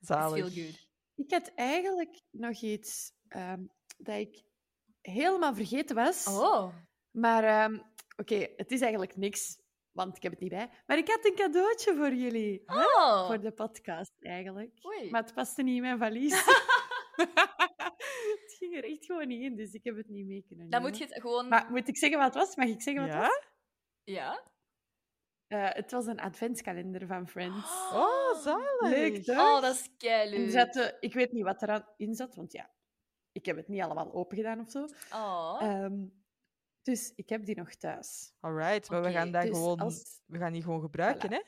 S1: Zalig.
S2: it's feel good.
S3: Ik had eigenlijk nog iets ehm, dat ik helemaal vergeten was.
S2: Oh,
S3: Maar ehm, oké, het is eigenlijk niks, want ik heb het niet bij. Maar ik had een cadeautje voor jullie. hè,
S2: oh.
S3: Voor de podcast, eigenlijk.
S2: Oei.
S3: Maar het paste niet in mijn valies. het ging er echt gewoon niet in, dus ik heb het niet mee kunnen
S2: dan
S3: nemen.
S2: moet je het gewoon...
S3: Maar moet ik zeggen wat het was? Mag ik zeggen wat het was?
S2: Ja?
S3: Eh, het was een adventskalender van Friends.
S1: Oh, zalig.
S3: Leuk, toch?
S2: Oh, dat is
S3: Er
S2: keileuk.
S3: zaten- eh, ik weet niet wat er in zat, want ja, ik heb het niet allemaal opengedaan of zo.
S2: Oh,
S3: Ehm, dus ik heb die nog thuis.
S1: Alright, maar we gaan
S2: Oké,
S1: dat
S3: dus
S1: gewoon...
S3: als-
S1: We gaan die gewoon gebruiken,
S3: Voilà.
S1: hè?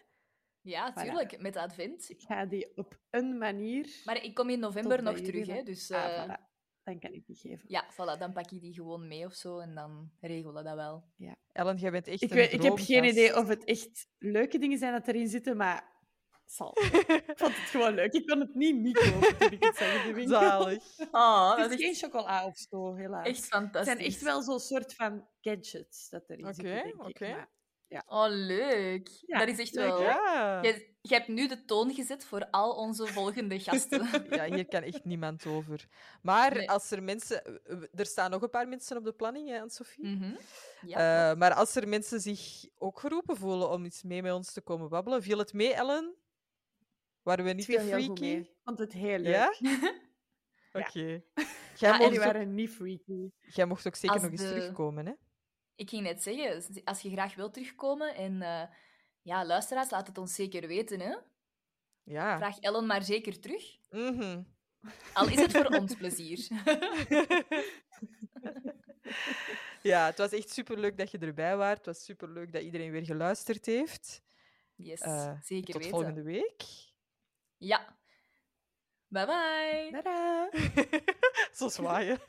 S2: ja, tuurlijk, met advent.
S3: Ik ga die op een manier.
S2: Maar ik kom in november
S3: Tot bij
S2: nog
S3: jullie
S2: terug,
S3: dan.
S2: hè? Dus
S3: Ah,
S2: eh,
S3: voilà. dan kan ik die geven.
S2: Ja, voilà, dan pak je die gewoon mee of zo en dan regelen we dat wel.
S3: Ja.
S1: Ellen, jij bent echt
S3: Ik,
S1: een
S3: weet, ik heb geen
S1: droomgast.
S3: idee of het echt leuke dingen zijn dat erin zitten, maar zal. ik vond het gewoon leuk. Ik kon het niet niet kopen toen ik het zag in de winkel.
S1: Zalig.
S2: Oh,
S3: Het is geen chocola of zo, helaas.
S2: echt
S3: het
S2: fantastisch.
S3: zijn echt wel zo'n soort van gadgets dat erin
S1: Oké,
S3: zitten, denk ik.
S1: oké.
S3: Maar
S2: Oh, leuk.
S3: Ja,
S2: dat is echt
S3: leuk,
S2: wel...
S1: Ja.
S2: Je, je hebt nu de toon gezet voor al onze volgende gasten.
S1: ja, hier kan echt niemand over. Maar
S2: Nee.
S1: als er mensen... Er staan nog een paar mensen op de planning, hè, Anne-Sophie?
S2: Mhm.
S1: Eh,
S2: Ja,
S1: maar als er mensen zich ook geroepen voelen om iets mee met ons te komen babbelen, viel het mee, Ellen? Waren we niet
S3: Het
S1: te
S3: viel heel goed
S1: freaky?
S3: mee. Ik vond het heel leuk.
S1: Ja? Oké. Jij,
S2: Ja, en
S3: En
S1: mocht
S3: die
S1: ook,
S3: waren niet freaky.
S1: jij mocht ook zeker
S2: Als
S1: nog eens
S2: de-
S1: terugkomen, hè?
S2: ik ging net zeggen, als je graag wilt terugkomen en... eh, ja, luisteraars, laat het ons zeker weten, hè.
S1: Ja.
S2: Vraag Ellen maar zeker terug.
S1: Mhm.
S2: Al is het voor ons plezier.
S1: Ja, het was echt superleuk dat je erbij was. Het was superleuk dat iedereen weer geluisterd heeft.
S2: Yes,
S1: Eh,
S2: zeker
S1: Tot
S2: weten.
S1: volgende week.
S2: Ja. Bye bye.
S3: Tadaa!
S1: Zo zwaaien.